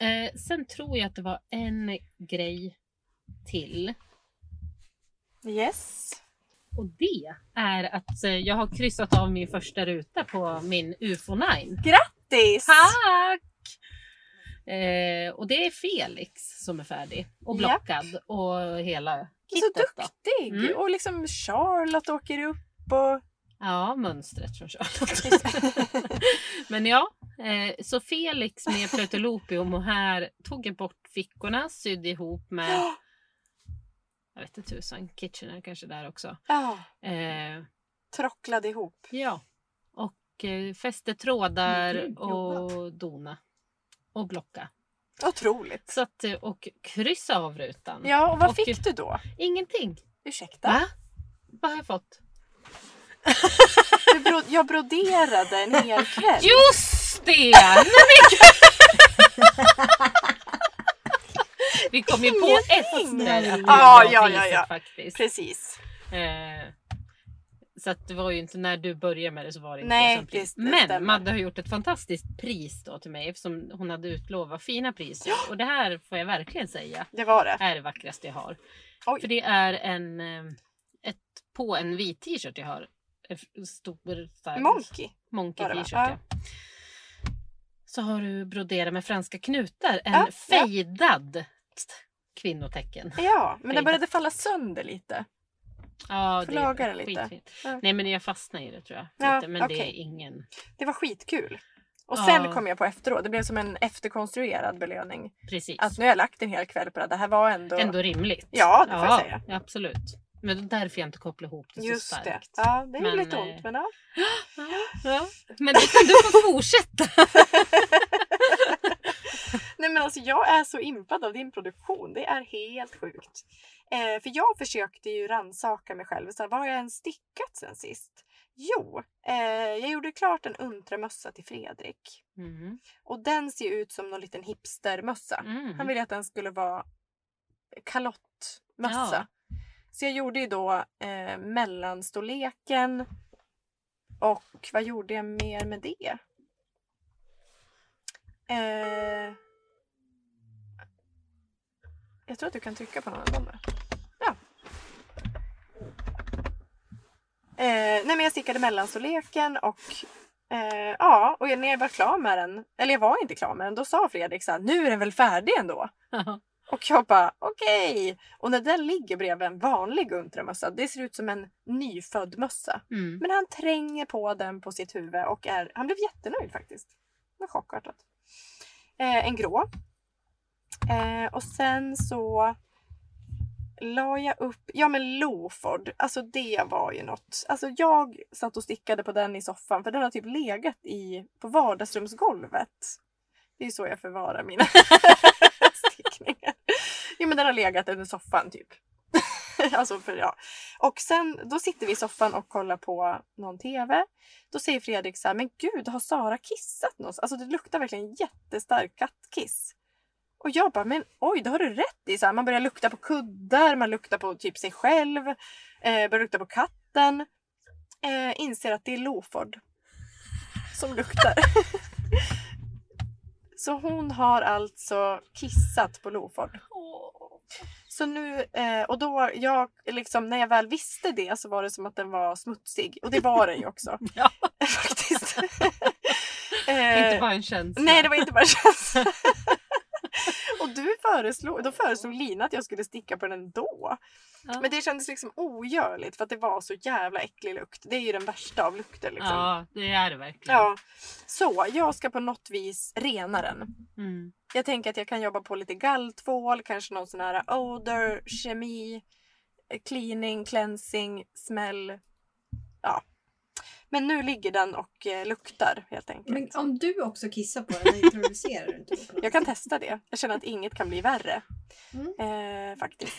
S1: eh, sen tror jag att det var en grej till.
S2: Yes.
S1: Och det är att eh, jag har kryssat av min första ruta på min UFO9.
S2: This.
S1: Tack! Eh, och det är Felix som är färdig och
S2: Japp.
S1: blockad och hela
S2: Så
S1: kittet. då.
S2: duktig!
S1: Mm.
S2: Och liksom Charlotte åker upp och...
S1: Ja, mönstret från Charlotte. [LAUGHS] Men ja, eh, så Felix med Plötelopi och mohair tog jag bort fickorna, sydde ihop
S2: [GASPS]
S1: med, jag vet inte tusan, Kitchener kanske där också.
S2: ja,
S1: Eh,
S2: trocklade ihop.
S1: ja, och eh, fäste trådar
S3: Men gud,
S1: och dona och blocka.
S2: Otroligt.
S1: Så att, eh, och kryssa av rutan.
S2: Ja, och
S1: Mm.
S2: vad
S1: Och-
S2: fick du då?
S1: Ingenting.
S2: Ursäkta?
S1: Va? Vad har jag fått?
S2: Du bro- jag broderade
S1: [LAUGHS]
S2: en hel kväll.
S1: Just det! Nej, men gud! Vi kom ju på
S2: Ingenting.
S1: efter att vi
S2: Ja,
S1: vann
S2: ja,
S1: priset
S2: ja, ja.
S1: faktiskt.
S2: Precis.
S1: Eh, så att det var ju inte när du började med det så var det inte
S2: Nej,
S1: det som pris.
S2: det- det
S1: Men
S2: stämmer.
S1: Madde har gjort ett fantastiskt pris då till mig eftersom hon hade utlovat fina priser. Och det här får jag verkligen säga
S2: Det var det.
S1: är det vackraste jag har.
S2: Oj.
S1: För det är en, eh, ett, på en vit t-shirt jag har. En f- stor så här-
S2: Monkey.
S1: Monkey
S2: Var det, va?
S1: t-shirt ja.
S2: Ja.
S1: Så har du broderat med franska knutar. En
S2: Ja, ja.
S1: fejdad t- kvinnotecken.
S2: Ja, men den
S1: Fejdat.
S2: började falla sönder lite.
S1: Ja,
S2: Får
S1: det är
S2: laga det lite.
S1: skitfint.
S2: Ja.
S1: Nej men jag fastnar i det tror jag.
S2: Ja,
S1: lite, men det är
S2: okej.
S1: ingen.
S2: Det var skitkul. Och
S1: Ja.
S2: sen kom jag på efteråt, det blev som en efterkonstruerad belöning.
S1: Precis.
S2: Att nu har jag lagt en hel kväll på det. Det här var ändå...
S1: Ändå rimligt.
S2: Alltså, Ja, det får jag säga.
S1: ja, Absolut. Men det är därför jag inte kopplar ihop det så
S2: Just det.
S1: starkt.
S2: Ja, det är
S1: Men,
S2: lite
S1: eh,
S2: ont men ja.
S1: [GASPS] Ja, men det kan du få fortsätta.
S2: Nej men alltså jag är så impad av din produktion. Det är helt sjukt. Eh, för jag försökte ju rannsaka mig själv. Så här, vad har jag ens stickat sen sist? Jo, eh, jag gjorde klart en untramössa till Fredrik.
S1: Mm.
S2: Och den ser ju ut som någon liten hipstermössa.
S1: Mm.
S2: Han ville att den skulle vara kalottmössa.
S1: Ja.
S2: Så jag gjorde ju då eh, mellanstorleken och vad gjorde jag mer med det? Eh, jag tror att du kan trycka på någon av dem. där. Ja. Eh, nej men jag stickade mellanstorleken och eh, ja, och när jag var klar med den, eller jag var inte klar med den, då sa Fredrik så här, nu är den väl färdig ändå?
S1: Ja.
S2: Och jag bara okej. Och när den ligger bredvid en vanlig untramössa, det ser ut som en nyfödd mössa.
S1: Mm.
S2: Men han tränger på den på sitt huvud och är, han blev jättenöjd faktiskt. Det var chockartat. Eh, en grå. Eh, och sen så la jag upp, ja men Loford, alltså det var ju något. Alltså jag satt och stickade på den i soffan för den har typ legat i, på vardagsrumsgolvet. Det är ju så jag förvarar mina [LAUGHS] stickningar. Jo men den har legat under soffan typ. [LAUGHS] alltså för ja. Och sen då sitter vi i soffan och kollar på någon TV. Då säger Fredrik så här, men gud har Sara kissat någonstans? Alltså det luktar verkligen jättestark kattkiss. Och jag bara, men oj det har du rätt i. Så här, man börjar lukta på kuddar, man luktar på typ sig själv, eh, börjar lukta på katten. Eh, inser att det är Loford som luktar. [LAUGHS] Så hon har alltså kissat på Loford. Så nu, eh, och då jag, liksom, när jag väl visste det så var det som att den var smutsig. Och det var den ju också.
S1: [LAUGHS] Ja.
S2: [LAUGHS]
S1: [LAUGHS]
S2: Faktiskt.
S1: Inte
S2: Eh,
S1: bara en känsla.
S2: Nej, det var inte bara känslan. [LAUGHS] Och du föreslog, då föreslog Lina att jag skulle sticka på den ändå.
S1: Ja.
S2: Men det kändes liksom ogörligt för att det var så jävla äcklig lukt. Det är ju den värsta av lukter liksom.
S1: Ja, det är det verkligen.
S2: Ja. Så jag ska på något vis rena den.
S1: Mm.
S2: Jag tänker att jag kan jobba på lite galltvål, kanske någon sån här odor, kemi, eh, cleaning, cleansing, smäll. Ja. Men nu ligger den och eh, luktar helt enkelt.
S3: Men om du också kissar på
S1: [LAUGHS]
S3: den, introducerar du inte då?
S2: Jag kan testa det. Jag känner att inget kan bli värre.
S3: Mm.
S2: Eh,
S3: [LAUGHS]
S2: faktiskt.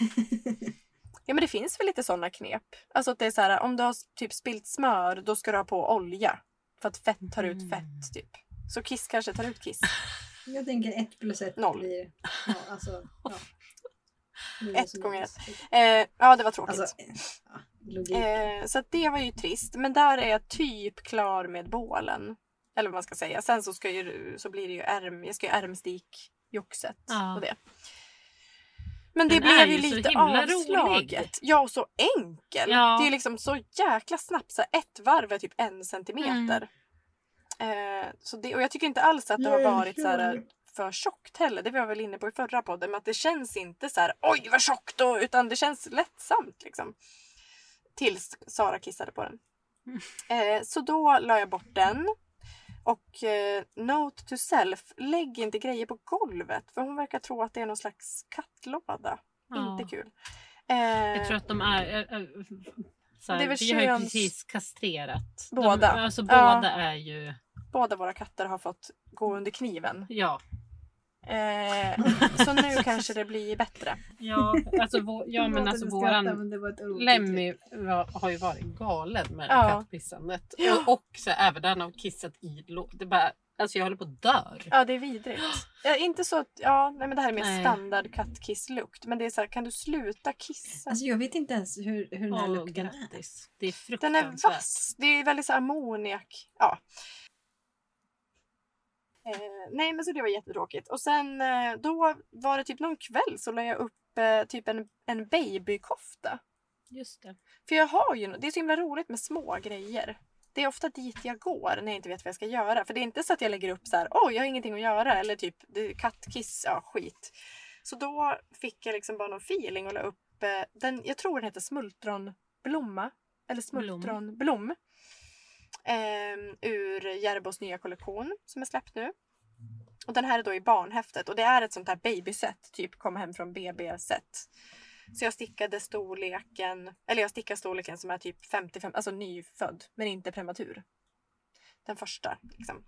S2: Ja men det finns väl lite sådana knep. Alltså att det är så här, om du har s- typ spilt smör då ska du ha på olja. För att fett tar ut
S1: Mm.
S2: fett typ. Så kiss kanske tar ut kiss.
S3: Jag tänker ett plus ett
S2: Noll.
S3: blir... Ja, alltså, ja. Det är
S2: Ett
S3: som-
S2: gånger ett. Eh, ja det var tråkigt.
S3: Alltså, eh, ja, logik.
S2: Eh, så att det var ju trist. Men där är jag typ klar med bålen. Eller vad man ska säga. Sen så, ska ju, så blir det ju ärm, jag ska ju ärmstik joxet
S1: Ja.
S2: och det. Men det
S1: Den är
S2: blev ju
S1: ju så
S2: lite
S1: himla
S2: avslaget.
S1: rolig.
S2: Ja, och så enkel.
S1: Ja.
S2: Det är ju liksom så jäkla snabbt. Så här, ett varv är typ en
S1: Mm.
S2: centimeter. Eh, så det, och jag tycker inte alls att det har
S3: Nej,
S2: varit så här,
S3: kul.
S2: för tjockt heller. Det var jag väl inne på i förra podden. Men att det känns inte så här oj vad tjockt då, utan det känns lättsamt liksom. Tills Sara
S1: [LAUGHS]
S2: kissade på den. Eh, så då la jag bort den. Och eh, note to self, lägg inte grejer på golvet. För hon verkar tro att det är någon slags kattlåda.
S1: Ja.
S2: Inte kul. Eh,
S1: Jag tror att de är... Äh, äh, så här,
S2: Det är väl
S1: vi har ju
S2: köns-
S1: precis kastrerat. De,
S2: Båda.
S1: alltså,
S2: Ja.
S1: båda är ju...
S2: Eh, Båda våra katter har fått gå under kniven.
S1: Ja. [LAUGHS]
S2: Eh, så nu kanske det blir bättre.
S1: Ja, alltså, vå, ja men
S3: Förlåt
S1: alltså
S3: att jag skrattar,
S1: våran
S3: men det var ett roligt
S1: Lemmy var, har ju varit galen med
S2: typ. Ja.
S1: kattpissandet.
S2: Ja.
S1: Och, och så även den har kissat i lå- det bara, Alltså jag håller på att dör.
S2: Ja, det är vidrigt. Ja, inte så att, ja, nej, men det här är mer
S1: Nej.
S2: standard kattkisslukt. Men det är så här, kan du sluta kissa?
S3: Alltså jag vet inte ens hur, hur den här
S1: Åh,
S3: lukten är.
S1: grattis. Det är
S2: Den är
S1: fruktansvärt.
S2: vass. Det är väldigt så här ammoniak. Ja. Eh, nej, men så det var jättetråkigt. Och sen eh, då var det typ någon kväll så la jag upp eh, typ en, en babykofta.
S1: Just det.
S2: För jag har ju, det är så himla roligt med små grejer. Det är ofta dit jag går när jag inte vet vad jag ska göra. För det är inte så att jag lägger upp så här, åh jag har ingenting att göra. Eller typ det är kattkiss, ja skit. Så då fick jag liksom bara någon feeling och la upp eh, den, jag tror den heter smultronblomma. Eller
S1: Blom.
S2: smultronblom. Ehm, ur Järbos nya kollektion som är släppt nu. Och den här är då i barnhäftet och det är ett sånt här babyset, typ kom hem från BB-set. Så jag stickade storleken, eller jag stickar storleken som är typ 55, alltså nyfödd, men inte prematur. Den första. Liksom.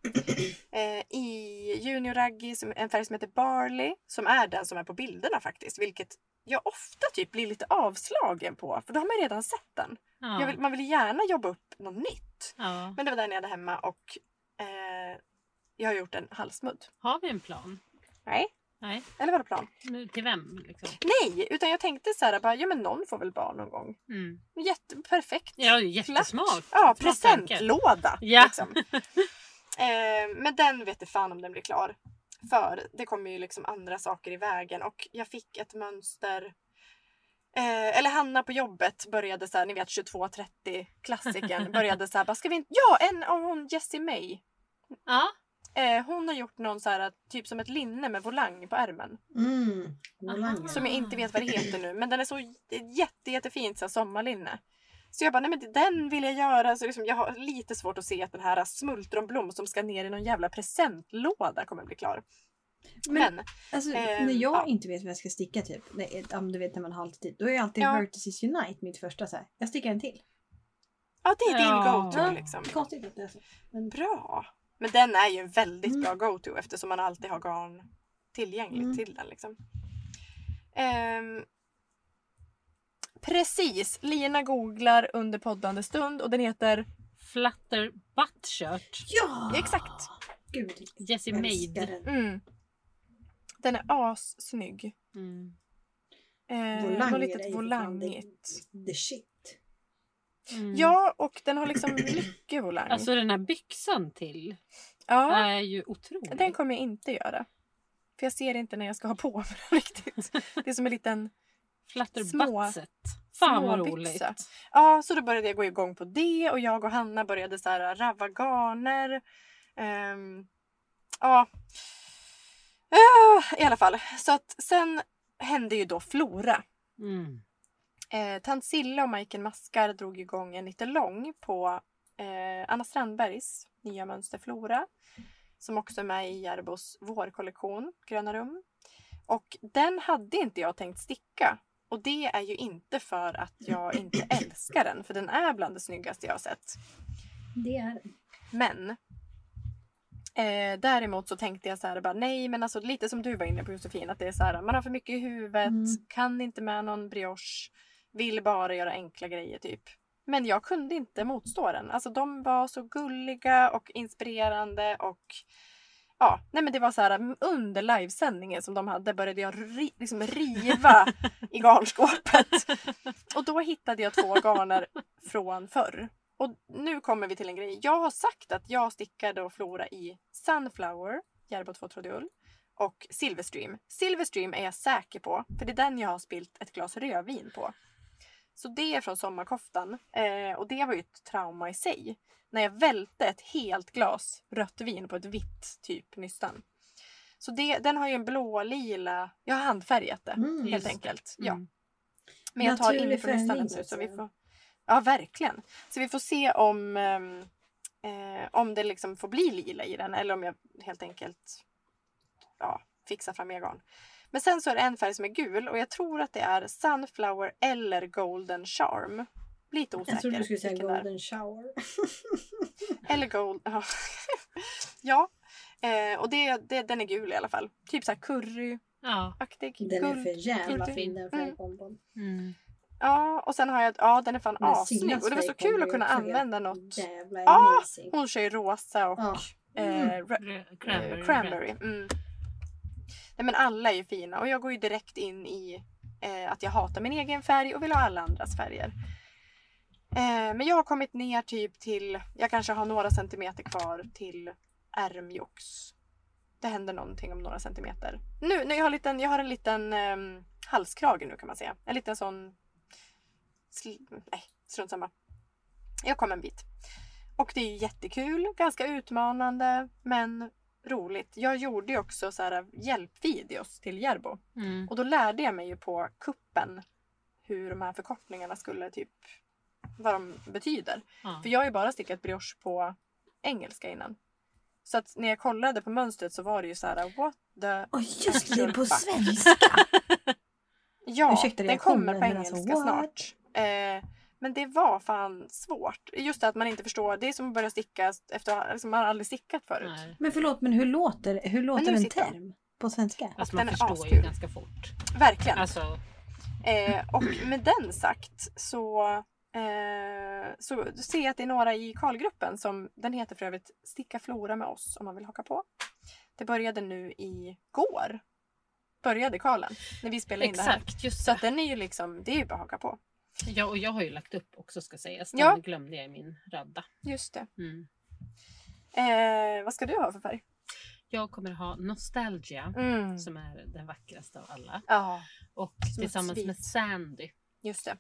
S2: Eh, I Junior Raggi, som en färg som heter Barley, som är den som är på bilderna faktiskt, vilket jag ofta typ blir lite avslagen på, för då har man ju redan sett den.
S1: Ja.
S2: Jag vill, man vill ju gärna jobba upp något nytt.
S1: ja.
S2: Men det var den jag hade hemma och eh, jag har gjort en halsmudd.
S1: Har vi en plan?
S2: Nej.
S1: Nej,
S2: Eller var det plan?
S1: men till vem liksom?
S2: Nej, utan jag tänkte så här, bara, ja men någon får väl barn någon gång.
S1: Mm.
S2: Jätte, perfekt.
S1: Ja, jättesmart.
S2: Ja,
S1: Smart tanke.
S2: presentlåda.
S1: Ja.
S2: Liksom. [LAUGHS] Eh, men den vet jag fan om den blir klar. För det kommer ju liksom andra saker i vägen och jag fick ett mönster. Eh, eller Hanna på jobbet började så här, ni vet 22.30 klassiken började så här, bara, ska vi inte... Ja, en av hon Jessie May.
S1: Ja,
S2: Eh, hon har gjort någon så här, typ som ett linne med volang på ärmen.
S3: Mm.
S1: Aha.
S2: Som jag inte vet vad det heter nu. Men den är så jätte, jättefint så här sommarlinne. Så jag bara, nej men den vill jag göra. Så liksom, jag har lite svårt att se att den här smultronblom som ska ner i någon jävla presentlåda kommer bli klar.
S3: Men,
S2: Men,
S3: alltså,
S2: ehm,
S3: när jag
S2: ja.
S3: inte vet vad jag ska sticka typ, det är- om du vet när man har alltid tid, då är ju alltid
S2: Ja.
S3: Vertices Unite mitt första så här. Jag stickar en till.
S2: ja det är din
S1: Ja.
S2: go-to liksom.
S3: Konstigt att det är så. Men,
S2: Bra! Men den är ju en väldigt
S3: Mm.
S2: bra go-to eftersom man alltid har garn tillgängligt
S3: Mm.
S2: till den. Liksom. Ehm, precis! Lina googlar under poddande stund och den heter
S1: Flutter butt shirt.
S3: ja!
S2: Exakt!
S3: Gud,
S1: Jessie
S3: jag
S1: Made.
S3: älskar den.
S2: Mm. Den är assnygg.
S1: Mm.
S2: Eh,
S3: Volanger
S2: något
S3: är ju
S2: litet
S3: för fan det-
S2: volangigt.
S3: The shit.
S1: Mm.
S2: Ja, och den har liksom mycket volang.
S1: Alltså den här byxan till
S2: ja,
S1: är ju otrolig.
S2: den kommer jag inte göra. För jag ser inte när jag ska ha på mig den [LAUGHS] riktigt. Det är som en liten... små-
S1: Flutterbuttset. Fan vad
S2: småbyxa.
S1: roligt.
S2: Ja, så då började jag gå igång på det och jag och Hanna började så här ravva garner. Ehm, ja. Ah, I alla fall. Så att sen hände ju då Flora.
S1: Mm.
S2: Eh, Tant Silla och Majken Maskar drog igång en lite lång på eh, Anna Strandbergs nya mönster Flora. Som också är med i Järbos vårkollektion Gröna rum. Och den hade inte jag tänkt sticka. Och det är ju inte för att jag inte älskar den. För den är bland det snyggaste jag har sett.
S3: Det är
S2: Men eh, däremot så tänkte jag så här, bara, nej men alltså lite som du var inne på Josefin, att det är så här, man har för mycket i huvudet,
S3: Mm.
S2: kan inte med någon brioche, vill bara göra enkla grejer typ. Men jag kunde inte motstå den. Alltså de var så gulliga och inspirerande och ja, nej men det var så här mm, under livesändningen som de hade började jag ri, liksom riva i garnskåpet. Och då hittade jag två garner från förr. Och nu kommer vi till en grej. Jag har sagt att jag stickade och Flora i Sunflower, Järbo 2 trådig ull och Silverstream. Silverstream är jag säker på, för det är den jag har spilt ett glas rödvin på. Så det är från sommarkoftan eh, och det var ju ett trauma i sig. När jag välte ett helt glas rött vin på ett vitt typ nystan. Så det, den har ju en blå-lila, jag har handfärgat det
S3: Mm.
S2: helt
S1: Just det.
S2: enkelt. Ja.
S1: Mm.
S2: Men jag tar
S3: Naturlig
S2: inifrån nystanen
S3: förändring,
S2: nu så vi
S3: så.
S2: får... Ja, verkligen. Så vi får se om, ehm, eh, om det liksom får bli lila i den eller om jag helt enkelt ja, fixar fram mer garn. Men sen så är det en färg som är gul och jag tror att det är Sunflower eller Golden Charm. Lite osäker.
S3: Jag trodde du skulle säga
S2: vilken det är.
S3: golden shower.
S2: Eller gold. [LAUGHS] Ja. ja. Eh, och det, det, den är gul i alla fall. Typ så här curryaktig.
S1: Ja.
S3: Den är för jävla
S2: guld.
S3: fin den färgkombon.
S1: Mm.
S2: Ja, och sen har jag... Ja, den är fan
S3: Men
S2: assnygg.
S3: Sillas
S2: Och det var så
S3: färg kommer
S2: kul att
S3: ju
S2: kunna
S3: också helt
S2: använda något.
S3: Jävla
S2: Ja!
S3: [LAUGHS] amazing.
S2: Hon kör ju rosa och
S3: Ja.
S2: eh, ra-
S1: Rö-
S2: cranberry.
S1: Cranberry.
S2: cranberry. Mm. Nej, men alla är ju fina och jag går ju direkt in i eh, att jag hatar min egen färg och vill ha alla andras färger. Eh, men jag har kommit ner typ till, jag kanske har några centimeter kvar till ärmjox. Det händer någonting om några centimeter. Nu, nu jag, har en liten, jag har en liten ehm, halskrage nu kan man säga. En liten sån... Sli, nej, strunt samma. Jag kom en bit. Och det är ju jättekul, ganska utmanande, men roligt. Jag gjorde ju också så här hjälpvideos till Järbo.
S1: Mm.
S2: Och då lärde jag mig ju på kuppen hur de här förkortningarna skulle typ... Vad de betyder.
S1: Ja.
S2: För jag har ju bara stickat brioche på engelska innan. Så att när jag kollade på mönstret så var det ju så här what the...
S3: Och just det, på
S2: Fuck.
S3: svenska!
S2: Ja,
S3: Ursäkta
S2: den
S3: reaktionen,
S2: kommer på
S3: men
S2: engelska
S3: alltså, what?
S2: snart. Eh, men det var fan svårt. Just det att man inte förstår. Det är som att börja sticka efter att liksom, man har aldrig stickat förut.
S1: Nej.
S3: [LAUGHS] Men förlåt, men hur låter, hur
S2: nu
S3: låter en
S2: sitter jag.
S3: term på svenska?
S1: Alltså
S2: den
S1: man
S2: är
S1: förstår ju
S2: askul.
S1: ganska fort.
S2: Verkligen.
S1: Alltså,
S2: Eh, och med den sagt så, eh, så ser jag att det är några i Karlgruppen som, den heter för övrigt Sticka Flora med oss om man vill haka på. Det började nu igår. började karlen. När vi spelade in det här.
S1: Exakt, just
S2: Så
S1: det.
S2: att den är ju liksom, det är ju bara att haka på.
S1: Ja, och jag har ju lagt upp också ska sägas. Den
S2: Ja.
S1: glömde jag i min radda.
S2: Just det.
S1: Mm.
S2: Eh, vad ska du ha för färg?
S1: Jag kommer ha Nostalgia
S2: Mm.
S1: som är den vackraste av alla.
S2: Ja,
S1: Och
S2: Som ett
S1: tillsammans
S2: svit.
S1: med Sandy.
S2: just det.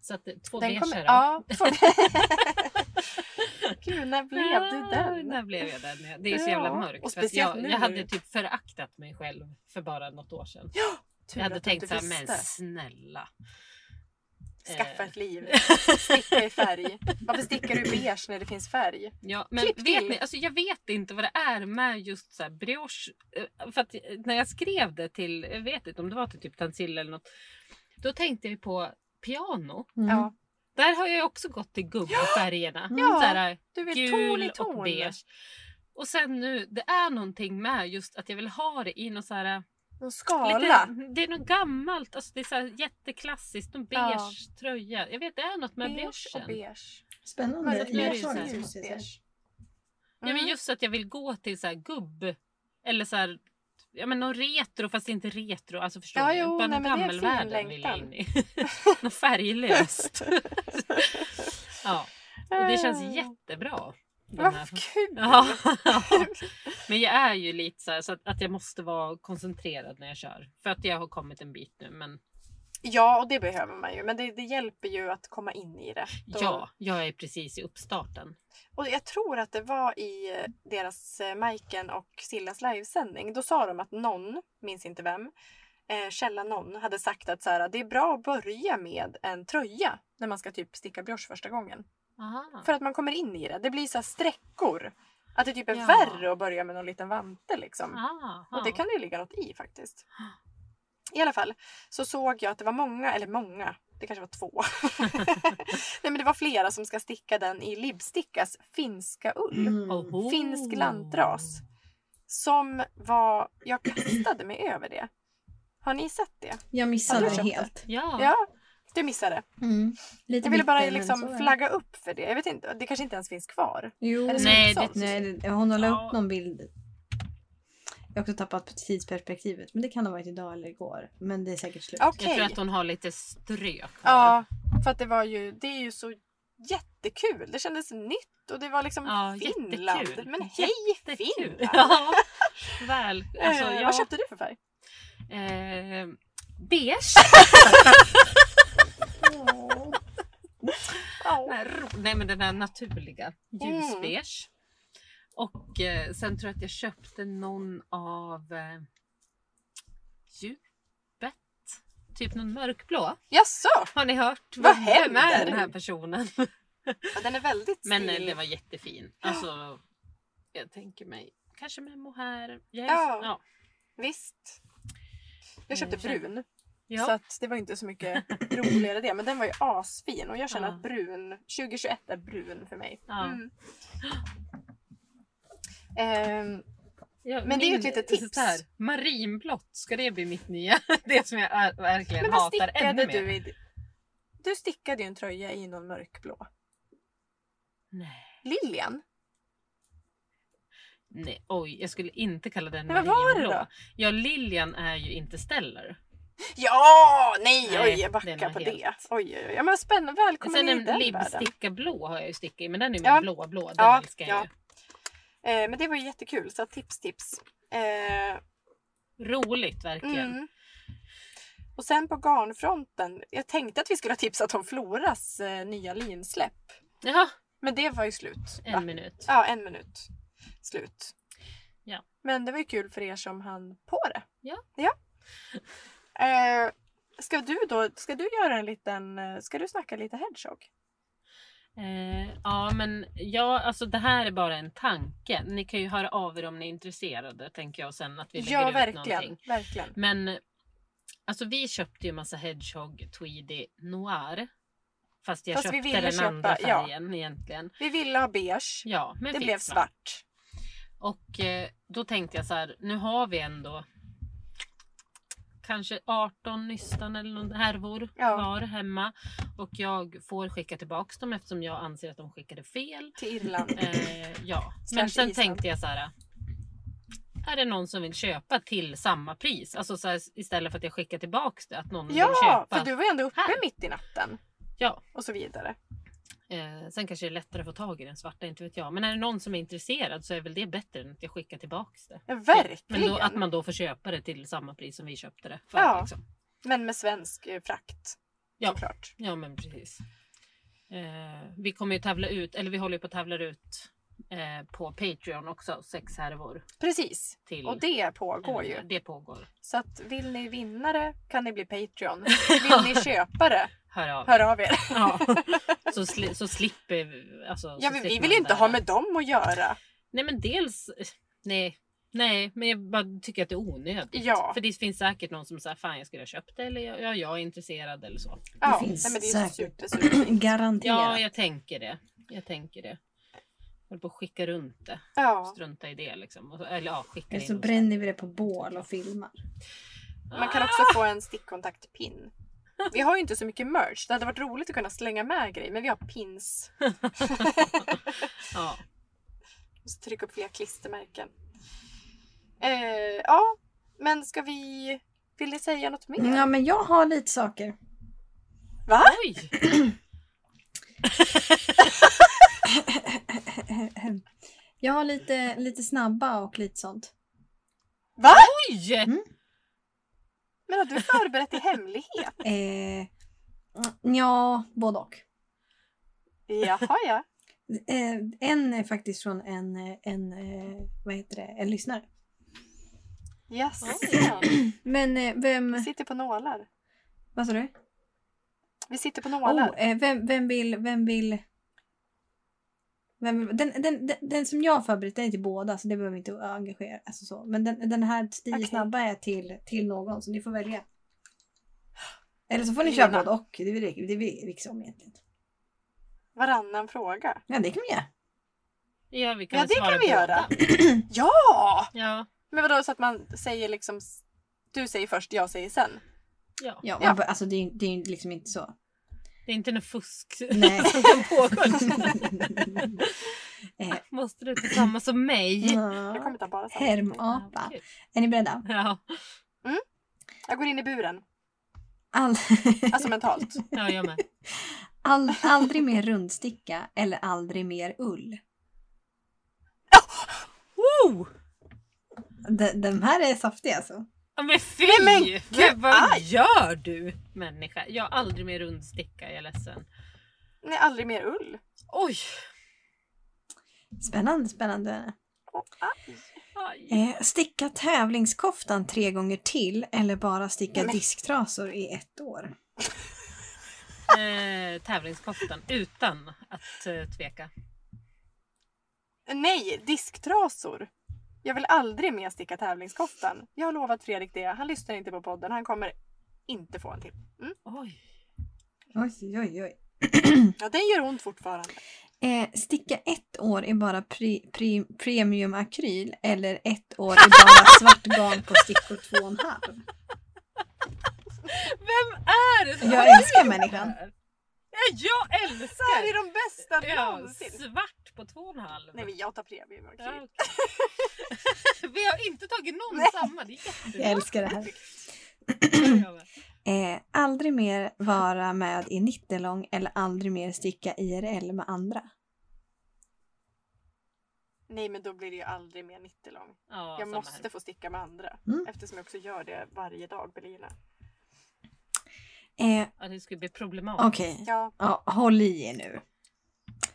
S1: Så att det är två
S2: Den
S1: beiga
S2: kommer,
S1: då.
S2: ja,
S1: [LAUGHS]
S2: får- Gud, när blev du den?
S1: När blev jag den? Det är så jävla
S2: Ja,
S1: mörkt.
S2: och
S1: för att
S2: speciellt
S1: jag,
S2: nu.
S1: jag hade typ föraktat mig själv för bara något år sedan.
S2: Tur
S1: Jag hade
S2: att du
S1: tänkt
S2: inte
S1: så här, men
S2: visste.
S1: snälla.
S2: Skaffa
S1: Eh, [LAUGHS]
S2: ett liv. Sticka i färg. Varför stickar du beige när det finns färg?
S1: Ja, men
S2: Klipp
S1: vet
S2: till.
S1: ni, alltså jag vet inte vad det är med just så här brioche. eh, För att eh, när jag skrev det till, jag vet inte om det var till typ Tansil eller något. Då tänkte jag på piano.
S3: Mm.
S2: Ja,
S1: Där har jag också gått till gubbfärgerna.
S2: Ja,
S1: så här, eh,
S2: du vill ton i
S1: gul
S2: ton.
S1: och beige. Och sen nu, det är någonting med just att jag vill ha det i någon så här... eh,
S2: Någon skala.
S1: Lite, det är något gammalt, alltså det är så här jätteklassiskt. Någon beige
S2: Ja.
S1: tröja. Jag vet, det är något med
S2: Beige och
S1: briochen.
S2: beige.
S3: Spännande.
S2: Men det
S1: nu är
S3: Jag
S1: det ju
S3: sa
S1: så
S3: det
S1: här-
S3: precis.
S2: beige.
S1: Ja, men
S2: Mm.
S1: just att jag vill gå till så här gubb eller så här, ja, men någon retro fast inte retro. Alltså förstår
S2: Ja,
S1: du?
S2: jo,
S1: Bara
S2: nej, men det är en fin
S1: gammelvärlden vill jag in
S2: längtan.
S1: i. [LAUGHS] något färglöst. [LAUGHS] ja, och det känns jättebra. den här-
S2: Mm. Eh. Vad kul!
S1: Ja, [LAUGHS] men jag är ju lite så, här, så att, att jag måste vara koncentrerad när jag kör. För att jag har kommit en bit nu. Men
S2: Ja, och det behöver man ju. Men det, det hjälper ju att komma in i det. Då-
S1: ja, jag är precis i uppstarten.
S2: Och jag tror att det var i eh, deras eh, Majken och Sillas livesändning. Då sa de att någon, minns inte vem, eh, källa någon hade sagt att så här, det är bra att börja med en tröja när man ska typ sticka brioche första gången.
S1: Aha.
S2: För att man kommer in i det. Det blir så här sträckor. Att det typ är
S1: Ja.
S2: värre att börja med någon liten vante liksom.
S1: Aha.
S2: Och det kan det ju ligga något i faktiskt. I alla fall så såg jag att det var många, eller många, det kanske var två. Nej men det var flera som ska sticka den i Libstickas finska ull.
S3: Mm.
S1: Oho.
S2: Finsk lantras. Som var, jag kastade mig över det. Har ni sett det?
S3: Jag
S2: Har
S3: missade
S2: du
S3: det
S2: köpt
S3: helt.
S1: Ja.
S2: Ja, du missade.
S3: Mm. Lite
S2: Jag ville bara
S3: bitter, men så är
S2: liksom
S3: det.
S2: flagga upp för det. Jag vet inte, det kanske inte ens finns kvar.
S3: Jo.
S2: Är det
S1: Nej,
S2: slutsålt?
S1: det-
S3: Nej, det- hon har
S1: Ja.
S3: lagt upp någon bild. Jag har också tappat tidsperspektivet. Men det kan ha varit idag eller igår. Men det är säkert slut.
S2: Okej.
S1: Jag tror att hon har lite strö kvar.
S2: Ja, för att det var ju, det är ju så jättekul. Det kändes nytt och det var liksom
S1: Ja,
S2: Finland.
S1: jättekul.
S2: Men hej
S1: Jättekul.
S2: [LAUGHS] Finland!
S1: Ja, väl. Alltså,
S2: eh,
S1: jag,
S2: Vad köpte du
S1: [LAUGHS]
S2: för färg?
S1: eh, beige.
S3: Åh.
S2: Ja.
S1: Den här ro- Nej men den där naturliga. Ljusbeige.
S2: Mm.
S1: Och eh, sen tror jag att jag köpte någon av eh, djupet. Typ någon mörkblå.
S2: Jaså?
S1: Har ni hört?
S2: Vad
S1: Vem är
S2: händer?
S1: den här
S2: [LAUGHS]
S1: personen?
S2: Ja, den är väldigt
S1: Men
S2: stil.
S1: eh, det var jättefin. Alltså, jag tänker mig kanske med mohair. Jag är
S2: Ja.
S1: så- Ja.
S2: Visst. Jag köpte
S1: Eh, känner-
S2: brun.
S1: Ja.
S2: Så att det var inte så mycket roligare det. Men den var ju asfin och jag känner
S1: Ja.
S2: att brun, 2021 är brun för mig.
S1: Ja.
S2: Mm. Ehm,
S1: Ja, typ
S2: Men det är ju ett litet tips.
S1: så här, marinblått, ska det bli mitt nya? [LAUGHS] Det som jag är, verkligen
S2: men vad
S1: hatar ännu
S2: stickade
S1: mer.
S2: du i? Du stickade ju en tröja i någon mörkblå.
S1: Nej.
S2: Liljen?
S1: Nej, oj, jag skulle inte kalla den
S2: Nej, vad var det
S1: marinblå.
S2: då?
S1: Ja, Lilian är ju inte Stellar.
S2: Ja, nej,
S1: Nej,
S2: oj, jag
S1: det är
S2: backar
S1: nog
S2: på
S1: helt-
S2: det. Oj, oj, oj. Ja, men spännande. Välkommen
S1: Sen
S2: in i
S1: en
S2: den världen.
S1: libbsticka blå har jag ju stickat i, men den är ju
S2: Ja.
S1: mer blå blå. Den
S2: Ja,
S1: älskar jag
S2: ja.
S1: ju.
S2: Eh, men det var ju jättekul, så tips, tips. Eh,
S1: Roligt verkligen.
S2: mm. Och sen på garnfronten, jag tänkte att vi skulle ha tipsat om Floras eh, nya linsläpp.
S1: Jaha,
S2: Men det var ju slut.
S1: en
S2: va?
S1: minut.
S2: Ja, en minut. Slut.
S1: Ja.
S2: Men det var ju kul för er som hann på det.
S1: Ja.
S2: ja. Eh, ska du då, ska du göra en liten, eh, ska du snacka lite hedgehog?
S1: Eh, ja, men ja, alltså det här är bara en tanke. Ni kan ju höra av er om ni är intresserade, tänker jag sen att vi lägger
S2: Ja,
S1: ut någonting.
S2: verkligen. verkligen.
S1: Men alltså vi köpte ju massa Hedgehog Tweedy Noir. Fast jag
S2: Fast vi
S1: köpte
S2: ville
S1: den andra
S2: köpa- ja.
S1: färgen egentligen.
S2: Vi ville ha beige.
S1: Ja, men
S2: det
S1: fick
S2: blev svart.
S1: Och eh, då tänkte jag så här, nu har vi ändå kanske 18 nystan eller någon härvor
S2: Ja.
S1: kvar hemma. Och jag får skicka tillbaks dem eftersom jag anser att de skickade fel. [LAUGHS]
S2: Till Irland. [CLEARS THROAT]
S1: Eh, ja, men
S2: Slash
S1: sen
S2: Island.
S1: tänkte jag så här. är det någon som vill köpa till samma pris. Alltså så här, istället för att jag skickar tillbaks det. Att någon vill
S2: Ja,
S1: Mm, köpa.
S2: för du var ju ändå uppe
S1: här.
S2: mitt i natten.
S1: Ja.
S2: Och så vidare.
S1: Eh, sen kanske det är lättare att få tag i den svarta, inte vet jag. Men är det någon som är intresserad så är väl det bättre än att jag skickar tillbaks det.
S2: Ja,
S1: Men
S2: verkligen.
S1: då, att man då får köpa det till samma pris som vi köpte det för.
S2: Ja.
S1: Liksom.
S2: Men med svensk eh, frakt.
S1: Ja.
S2: Såklart.
S1: Ja men precis. Eh, vi kommer ju tävla ut, eller vi håller ju på att tävla ut eh, på Patreon också, sex härvor
S2: Precis.
S1: till.
S2: Och det pågår
S1: eh,
S2: ju.
S1: Det pågår.
S2: Så att vill ni vinna det kan ni
S1: [LAUGHS]
S2: bli Patreon. Vill ni köpa det,
S1: Hör av
S2: hör
S1: er.
S2: av er. [LAUGHS]
S1: Ja. Så, sli, så slipper vi- alltså,
S2: Ja,
S1: så
S2: men vi
S1: slipper man
S2: vill ju inte
S1: det
S2: ha
S1: här.
S2: med dem att göra.
S1: Nej men dels, nej. Nej, men jag bara tycker att det är onödigt.
S2: Ja.
S1: För det finns säkert någon som säger fan jag skulle ha köpt det eller ja, jag är intresserad eller så.
S2: Ja,
S3: finns
S2: nej, men det är
S3: säkert.
S2: supersynd.
S3: Garanterat.
S1: Ja, jag tänker det. Jag tänker det. Jag höll på att skicka runt det.
S2: Ja.
S1: Strunta i det liksom. Och så- Eller ja, skicka
S3: Eller så
S1: in.
S3: bränner vi det på bål och filmar.
S2: Man kan också få en stickkontaktpin. Vi har ju inte så mycket merch. Det hade varit roligt att kunna slänga med grejer, men vi har pins.
S1: Ja.
S2: Och så trycka upp fler klistermärken. Eh, ja, men ska vi... Vill ni säga något mer?
S3: Mm, Ja, men jag har lite saker.
S2: Va?
S1: Oj!
S3: [CLEARS THROAT] Jag har lite, lite snabba och lite sånt.
S1: Oj!
S2: Men har du förberett i hemlighet?
S3: Eh, ja, både och.
S2: Jaha, ja.
S3: Eh, en är faktiskt från en, eh, en, eh, vad heter det, en lyssnare.
S2: Yes.
S3: Men eh, vem,
S2: Vi sitter på nålar.
S3: vad sa du?
S2: Vi sitter på
S3: Oh,
S2: nålar.
S3: eh, vem, vem vill, vem vill? Vem, vill- den, den, den, den som jag har förberett den är till båda så det behöver vi inte engagera. Alltså så. Men den, den här tio
S2: Okej.
S3: snabba är till, till någon så ni får välja. Eller så får ni
S2: Lena.
S3: köra både och. Det är väl det är väl liksom egentligen.
S2: Varannan fråga.
S3: Ja det kan vi göra.
S1: Ja, vi kan
S2: Ja,
S1: väl
S2: det
S1: svara
S2: kan vi
S1: båda.
S2: göra. Ja!
S1: Ja,
S2: Men vadå, så att man säger liksom... s- Du säger först, jag säger sen.
S1: ja.
S3: Ja,
S2: Ja.
S3: Man, alltså det är ju det är ju liksom inte så.
S1: Det är inte något fusk [LAUGHS]
S2: [LAUGHS]
S3: Nej. [LAUGHS]
S1: som kan pågå.
S3: eh,
S1: Måste du till samma som mig?
S2: Jag
S3: ja.
S2: kommer ta bara sen.
S3: Hermapa.
S1: Ja, kul.
S3: Är ni beredda?
S1: Ja,
S2: Jag går in i buren.
S3: All... [LAUGHS]
S2: Alltså mentalt.
S1: ja, jag med.
S3: All... Aldrig mer rundsticka eller aldrig mer ull.
S1: Wow!
S3: De, de här är saftiga alltså.
S1: Ja, Men fy!
S2: men
S1: men vad gör du människa? Jag har aldrig mer rundsticka, jag är ledsen.
S2: Nej, aldrig mer ull.
S1: Oj!
S3: Spännande, spännande.
S2: Åh, aj.
S1: Aj.
S3: Eh, sticka tävlingskoftan tre gånger till eller bara sticka
S2: Nej, men-
S3: disktrasor i ett år.
S1: Eh, tävlingskoftan utan att eh, tveka.
S2: Nej, disktrasor. Jag vill aldrig mer sticka tävlingskoftan. Jag har lovat Fredrik det. Han lyssnar inte på podden. Han kommer inte få en till.
S1: Oj!
S3: Oj, oj, oj.
S2: Ja, den gör ont fortfarande.
S3: Eh, sticka ett år i bara pri, pri, premium akryl eller ett år i bara [LAUGHS] svart garn på stickor två och en halv.
S1: Vem är det som
S3: Jag
S1: har
S3: älskar
S1: gjort
S3: människan. [CLEARS THROAT]
S1: det här? Ja, jag
S2: Det här är
S1: älskar!
S2: de bästa
S1: Ja,
S2: någonsin.
S1: svart på två och en halv.
S2: Nej, men jag tar premium.
S1: Ja,
S2: okej.
S1: okej. [LAUGHS] Vi har inte tagit någon
S2: Nej.
S1: samma. Det är
S3: Jag
S1: jättebra.
S3: älskar det här.
S1: Ja, men.
S3: Eh, aldrig mer vara med i nittelång eller aldrig mer sticka IRL med andra.
S2: Nej, men då blir det ju aldrig mer 90 lång.
S1: Ja,
S2: Jag
S1: samma
S2: måste
S1: här.
S2: få sticka med andra.
S3: Mm.
S2: Eftersom jag också gör det varje dag på Lina.
S3: Eh,
S1: Ja, det skulle bli problematiskt.
S3: Okej,
S2: Ja.
S3: ja, håll i er nu.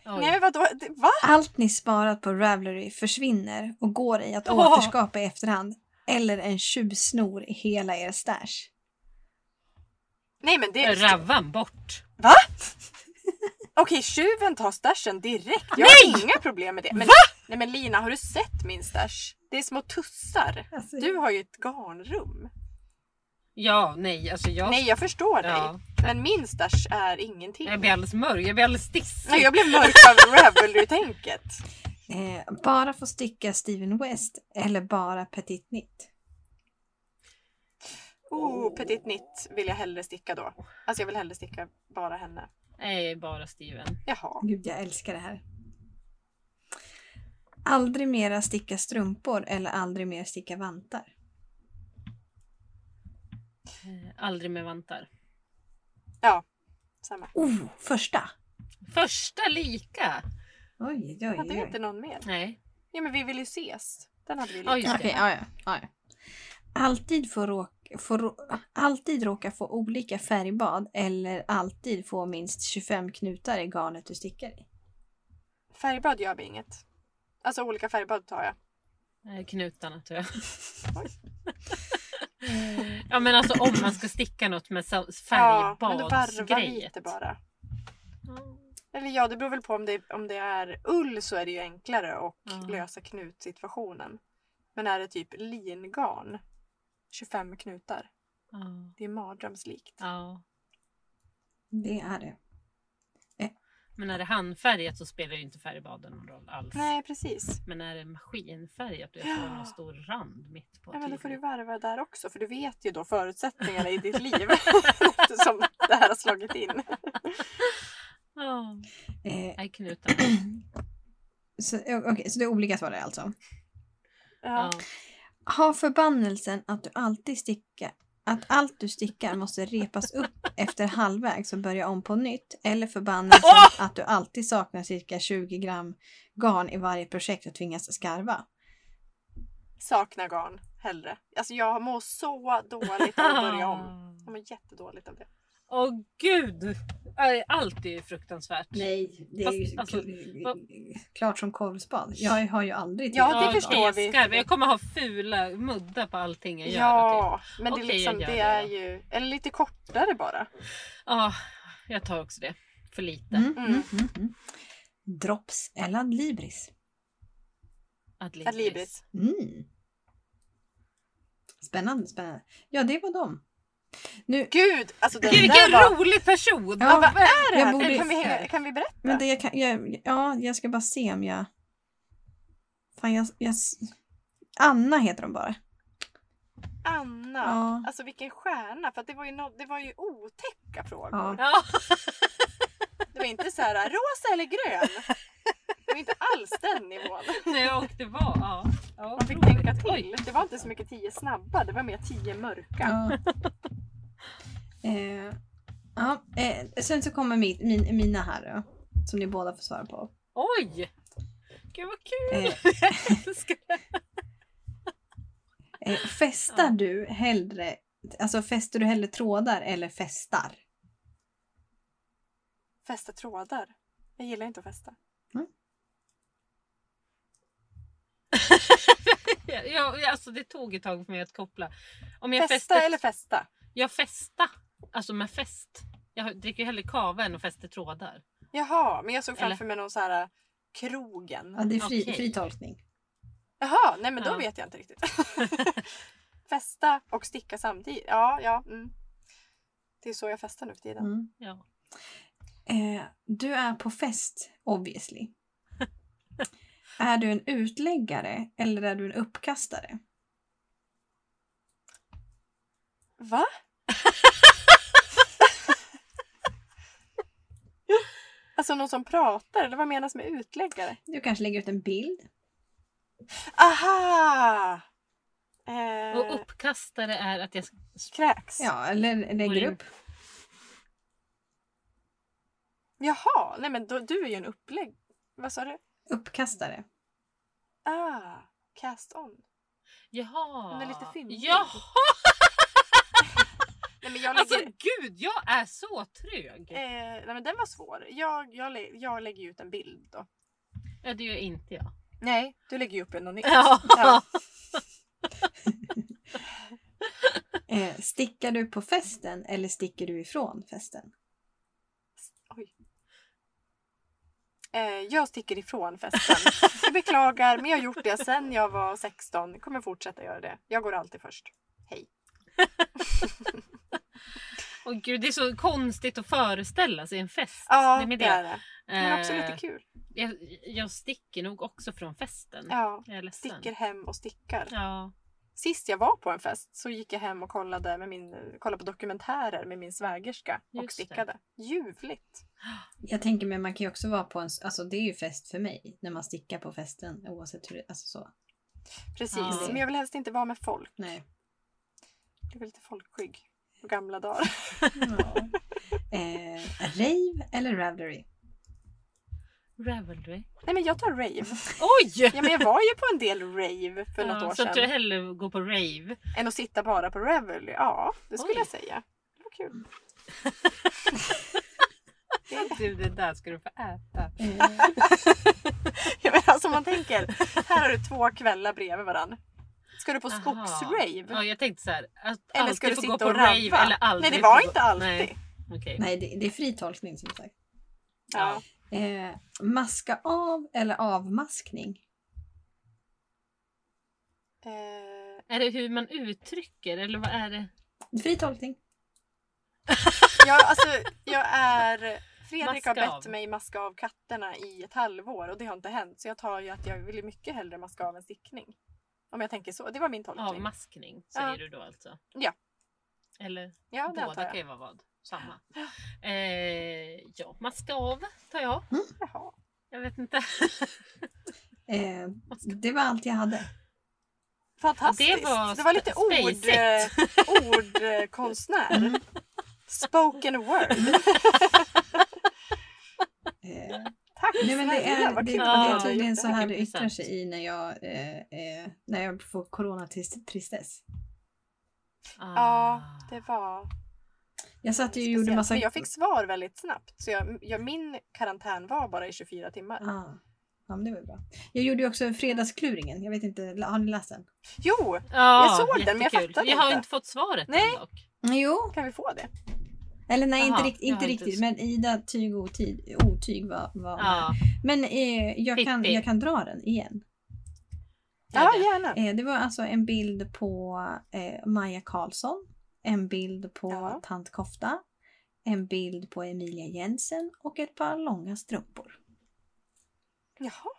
S1: Oj.
S2: Nej, men vadå? Det- Va?
S3: Allt ni sparat på Ravelry försvinner och går i att
S1: Åh!
S3: återskapa i efterhand. Eller en tjuvsnor i hela er stash.
S2: Nej, men det...
S1: Ravan bort.
S2: Va? [LAUGHS] Okej, tjuven tar stashen direkt. Jag har inga problem med det. Men, Nej men Lina, har du sett min stash? Det är små tussar.
S3: Alltså,
S2: Du har ju ett garnrum.
S1: Ja, nej, alltså jag...
S2: Nej, jag förstår dig.
S1: ja.
S2: Men min stash är ingenting.
S1: Jag blir alldeles mörk, jag blir alldeles
S2: Nej,
S1: stissig.
S2: jag blev mörk av [LAUGHS] Ravelry-tänket.
S3: eh, bara få sticka Steven West eller bara Petit Nitt.
S2: Oh, petit nitt vill jag hellre sticka då. Alltså jag vill hellre sticka bara henne.
S1: Nej, bara Steven.
S2: Jaha.
S3: Gud, jag älskar det här. Aldrig mera sticka strumpor eller aldrig mer sticka vantar.
S1: Eh, Aldrig med vantar.
S2: Samma.
S3: Oh, första!
S1: Första lika!
S3: Oj, oj,
S2: Hade vi
S3: oj.
S2: inte någon mer?
S1: Nej.
S2: Ja men vi vill ju ses. Den hade vi
S1: Ja,
S2: lite.
S1: just
S4: Okej,
S1: det.
S4: ja, ja, ja, ja.
S3: Alltid, få råka, få, rå- alltid råka få olika färgbad eller alltid få minst 25 knutar i garnet du stickar i.
S2: Färgbad gör vi inget. Alltså olika färgbad tar jag.
S1: Eh, Knutarna tror jag.
S2: Oj.
S1: Ja men alltså om man ska sticka något med
S2: Ja, men du varvar
S1: färgbadsgrejet.
S2: lite bara. Eller ja, det beror väl på om det, om det är ull så är det ju enklare att
S1: Ja.
S2: lösa knutsituationen. Men är det typ lingarn, 25 knutar,
S1: Ja.
S2: det är mardrömslikt.
S1: ja.
S3: Det är det.
S1: Men är det handfärgat så spelar ju inte färgbaden någon roll alls.
S2: Nej, precis.
S1: Men är det maskinfärgat och jag får någon stor rand mitt på
S2: Ja, men då
S1: tyget.
S2: får du varva där också för du vet ju då förutsättningarna i ditt liv [LAUGHS] eftersom det här har slagit in.
S1: Ja,
S3: Eh,
S1: nej knutarna.
S3: så, okej, så det är olika svar där alltså.
S2: Ja.
S1: Ja.
S3: Ha förbannelsen att du alltid stickar att allt du stickar måste repas upp efter halvvägs och börja om på nytt. Eller förbannelsen att du alltid saknar cirka 20 gram garn i varje projekt och tvingas skarva.
S2: Saknar garn hellre. Alltså jag mår så dåligt av att börja
S1: Ah.
S2: om. Jag mår jättedåligt av det.
S1: Åh gud! Aj, Allt är ju fruktansvärt.
S3: Nej, det
S1: Fast, alltså, vad-
S3: klart som korvspad. Jag har ju aldrig
S2: Ja, det
S3: tillgång till
S2: förstår
S3: garn.
S1: jag
S2: vi.
S1: skarvar. Jag kommer ha fula muddar på allting jag gör. och typ.
S2: Ja, men det, är
S1: Okej, jag
S2: liksom,
S1: gör
S2: det
S1: det
S2: är
S1: då.
S2: ju... Eller lite kortare bara.
S1: Ja, Ah, jag tar också det. För lite.
S3: Mm, mm,
S2: Mm.
S3: mm, mm. Drops eller ad libris.
S1: Adlibris.
S2: Ad libris.
S3: Mm. Spännande, spännande. Ja, det var dem. Nu,
S2: Gud! Alltså den
S1: Gud,
S2: där
S1: vilken
S2: var...
S1: rolig person!
S3: Ja,
S1: vad
S2: är
S1: är
S2: det här?
S3: Jag borde-
S2: kan, vi, kan vi berätta?
S3: vänta, jag, kan, jag, ja, jag ska bara se om jag... Fan, jag, jag... Anna heter hon bara.
S2: Anna,
S3: Ja.
S2: alltså vilken stjärna. För att det, var ju no... det var ju otäcka frågor.
S3: Ja.
S1: Ja, [LAUGHS]
S2: Det var inte så här rosa eller grön.
S3: [LAUGHS]
S2: Det var inte alls den nivån.
S1: nej, och det var... Ja. Ja,
S2: Man fick
S1: roligt.
S2: tänka till.
S1: Oj.
S2: Det var inte så mycket tio snabba, det var mer tio mörka. [LAUGHS]
S3: Ja. eh, ja, eh, sen så kommer min, min, mina här då, som ni båda får svara på.
S1: Oj! Gud vad kul!
S3: Eh,
S1: [LAUGHS] Jag älskar det.
S3: eh, festar
S1: Ja.
S3: du hellre... Alltså fäster du hellre trådar eller festar?
S2: Fästa trådar. Jag gillar inte att fästa.
S1: Ja, ja, alltså det tog ett tag för mig att koppla. Om jag
S2: Fästa
S1: fäster-
S2: eller fästa?
S1: Jag fästa. Alltså med fest. Jag dricker ju hellre kava än att fästa trådar.
S2: Jaha, men jag såg framför
S1: Eller?
S2: mig någon så här äh,
S3: Ja,
S2: krogen.
S3: det är fri,
S1: Okej.
S3: fri tolkning.
S2: Jaha, nej men då
S1: Ja.
S2: vet jag inte riktigt. fästa och sticka samtidigt. Ja, ja. Mm. Det är så jag festar nu för tiden.
S3: Mm.
S1: Ja.
S3: Eh, du är på fest, obviously. [LAUGHS] är du en utläggare eller är du en uppkastare?
S2: Va? [LAUGHS] alltså någon som pratar, eller vad menas med utläggare?
S3: Du kanske lägger ut en bild?
S2: Aha! Eh,
S1: Och uppkastare är att jag...
S2: Kräks?
S3: Ja, eller
S1: Går
S3: lägger
S1: in.
S3: upp.
S2: Jaha, nej men då, du är ju en upplägg... Vad sa du?
S3: Uppkastare.
S2: Ah, cast on.
S1: Jaha!
S2: Hon är lite fyndig.
S1: Jaha!
S2: Nej men jag
S1: Alltså
S2: lägger...
S1: gud, jag är så trög!
S2: Eh, nej men den var svår. Jag, jag, lä- jag lägger ju ut en bild då.
S1: Ja, det gör inte jag.
S2: Nej, du lägger ju upp en och nytt.
S1: [LAUGHS] Ja.
S2: Ja.
S3: Eh, stickar du på festen eller sticker du ifrån festen?
S2: Oj. Eh, jag sticker ifrån festen. Jag beklagar, men jag har gjort det sedan jag var 16. Kommer fortsätta göra det. Jag går alltid först.
S1: Och gud, det är så konstigt att föreställa sig en fest.
S2: Ja,
S1: är
S2: det,
S1: med
S2: är det. Men också
S1: Eh,
S2: lite kul.
S1: Jag, jag sticker nog också från festen.
S2: Ja.
S1: Jag är ledsen.
S2: Sticker hem och stickar.
S1: Ja.
S2: Sist jag var på en fest så gick jag hem och kollade, med min, kollade på dokumentärer med min svägerska och
S1: Just det.
S2: stickade. Ljuvligt!
S3: Jag tänker men man kan ju också vara på en, alltså det är ju fest för mig när man stickar på festen oavsett hur det, alltså så.
S2: Precis,
S1: Ja.
S2: men jag vill helst inte vara med folk.
S3: Nej.
S2: Jag blev lite folkskygg på gamla dagar.
S3: Ja. eh, rave
S2: [LAUGHS]
S3: eller Ravelry?
S1: Ravelry.
S2: Nej men jag tar rave.
S1: Oj!
S2: Ja men jag var ju på en del rave för något
S1: Ja,
S2: år
S1: så att du
S2: sedan.
S1: hellre går på rave.
S2: Än att sitta bara på Revelry. Ja, det skulle
S1: Oj.
S2: jag säga. Det var kul.
S1: Du, det där ska du få äta.
S3: Eh,
S2: [LAUGHS] Jag menar, alltså
S1: [LAUGHS]
S2: om man tänker, här har du två kvällar bredvid varandå. Ska du på
S1: Aha.
S2: skogsrave?
S1: Ja, jag tänkte så här. Att
S2: Eller ska
S1: alltid
S2: du
S1: få
S2: sitta
S1: gå på
S2: och
S1: rave
S2: rava?
S1: eller aldrig
S2: Nej, det
S1: få
S2: var
S1: gå-
S2: inte alltid.
S1: Nej, okej.
S3: nej, det, det är fri tolkning som sagt.
S2: Ja.
S1: Ja.
S3: Eh, maska av eller avmaskning?
S2: Eh,
S1: Är det hur man uttrycker eller vad är det?
S3: Fri tolkning.
S2: jag, alltså, jag är... Fredrik har
S1: Maska
S2: bett
S1: av.
S2: mig maska av katterna i ett halvår och det har inte hänt. Så jag tar ju att jag vill ju mycket hellre maska av en stickning. Om jag tänker så. Det var min tolkning.
S1: Avmaskning säger
S2: Ja.
S1: du då alltså?
S2: Ja.
S1: Eller
S2: ja,
S1: båda
S2: det
S1: typ.
S2: antar jag.
S1: kan ju vara vad. Samma. Eh, ja, maska av tar jag.
S2: Jaha.
S1: Jag vet inte.
S3: Eh, det var allt jag hade.
S2: Fantastiskt.
S1: Det var
S2: lite
S1: sp-
S2: ord, eh, ordkonstnär.
S3: Mm.
S2: Spoken word.
S3: Eh,
S2: Tack
S3: Nej, men det
S2: snälla,
S3: är,
S2: vad
S3: det,
S2: kul
S3: det
S2: att
S3: är
S2: höra.
S3: tydligen så här det
S1: Jätteintressant.
S3: yttrar sig i när jag, eh, eh, när jag får coronatristess.
S2: Ah. Ja, det var
S3: Jag satt ju och
S2: speciellt.
S3: gjorde massa...
S2: Men jag fick svar väldigt snabbt. Så jag, jag, min karantän var bara i 24 timmar.
S3: Ah. Ja, men det var ju bra. Jag gjorde ju också Fredagskluringen. Jag vet inte, har ni läst den?
S2: Jo,
S1: Ja,
S2: Jag såg den, men jag
S1: Ah, jättekul.
S2: fattade
S1: Jag har
S2: inte.
S1: inte fått svaret
S2: Nej.
S1: än dock.
S3: Jo.
S2: kan vi få det?
S3: Eller nej, inte,
S1: Jaha,
S3: rikt,
S1: jag
S3: inte
S1: har inte
S3: riktigt.
S1: s-
S3: Men Ida Tyg och Otid, Otyg var... var
S1: Ja,
S3: Men eh, jag, kan,
S1: Pippi.
S3: jag kan dra den igen.
S1: gör
S2: Ja,
S1: det.
S2: gärna.
S3: Eh, det var alltså en bild på eh, Maja Karlsson. En bild på
S2: Ja.
S3: Tant Kofta. En bild på Emilia Jensen och ett par långa strumpor.
S2: Jaha.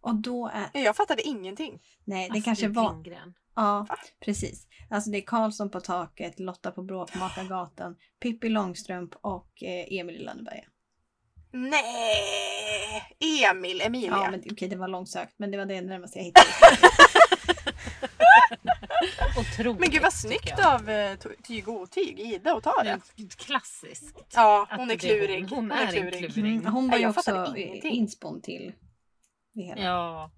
S3: Och då är...
S2: Ja, Jag fattade ingenting.
S3: Nej, det
S1: Astrid
S3: kanske var...
S1: Lindgren.
S3: Ja, precis. Alltså det är Karlsson på taket, Lotta på Bråkmakargatan, Pippi Långstrump och eh, Emil i Lönneberga.
S2: Nej! Emil, Emilia.
S3: Ja, men okej, det var långsökt, men det var det närmaste jag hittade.
S1: Otroligt.
S2: Men gud vad
S1: tycker
S2: snyggt
S1: jag.
S2: av eh, to- tyg och otyg, Ida, att ta
S1: Det
S2: det.
S1: är Klassiskt.
S2: Ja,
S1: Att
S2: hon
S1: det
S2: är
S1: är
S2: klurig.
S1: hon. Hon är en klurig.
S3: Mm, hon var
S2: Nej,
S3: ju
S2: jag fattade
S3: också eh,
S2: ingenting.
S3: inspån till det hela.
S1: Ja,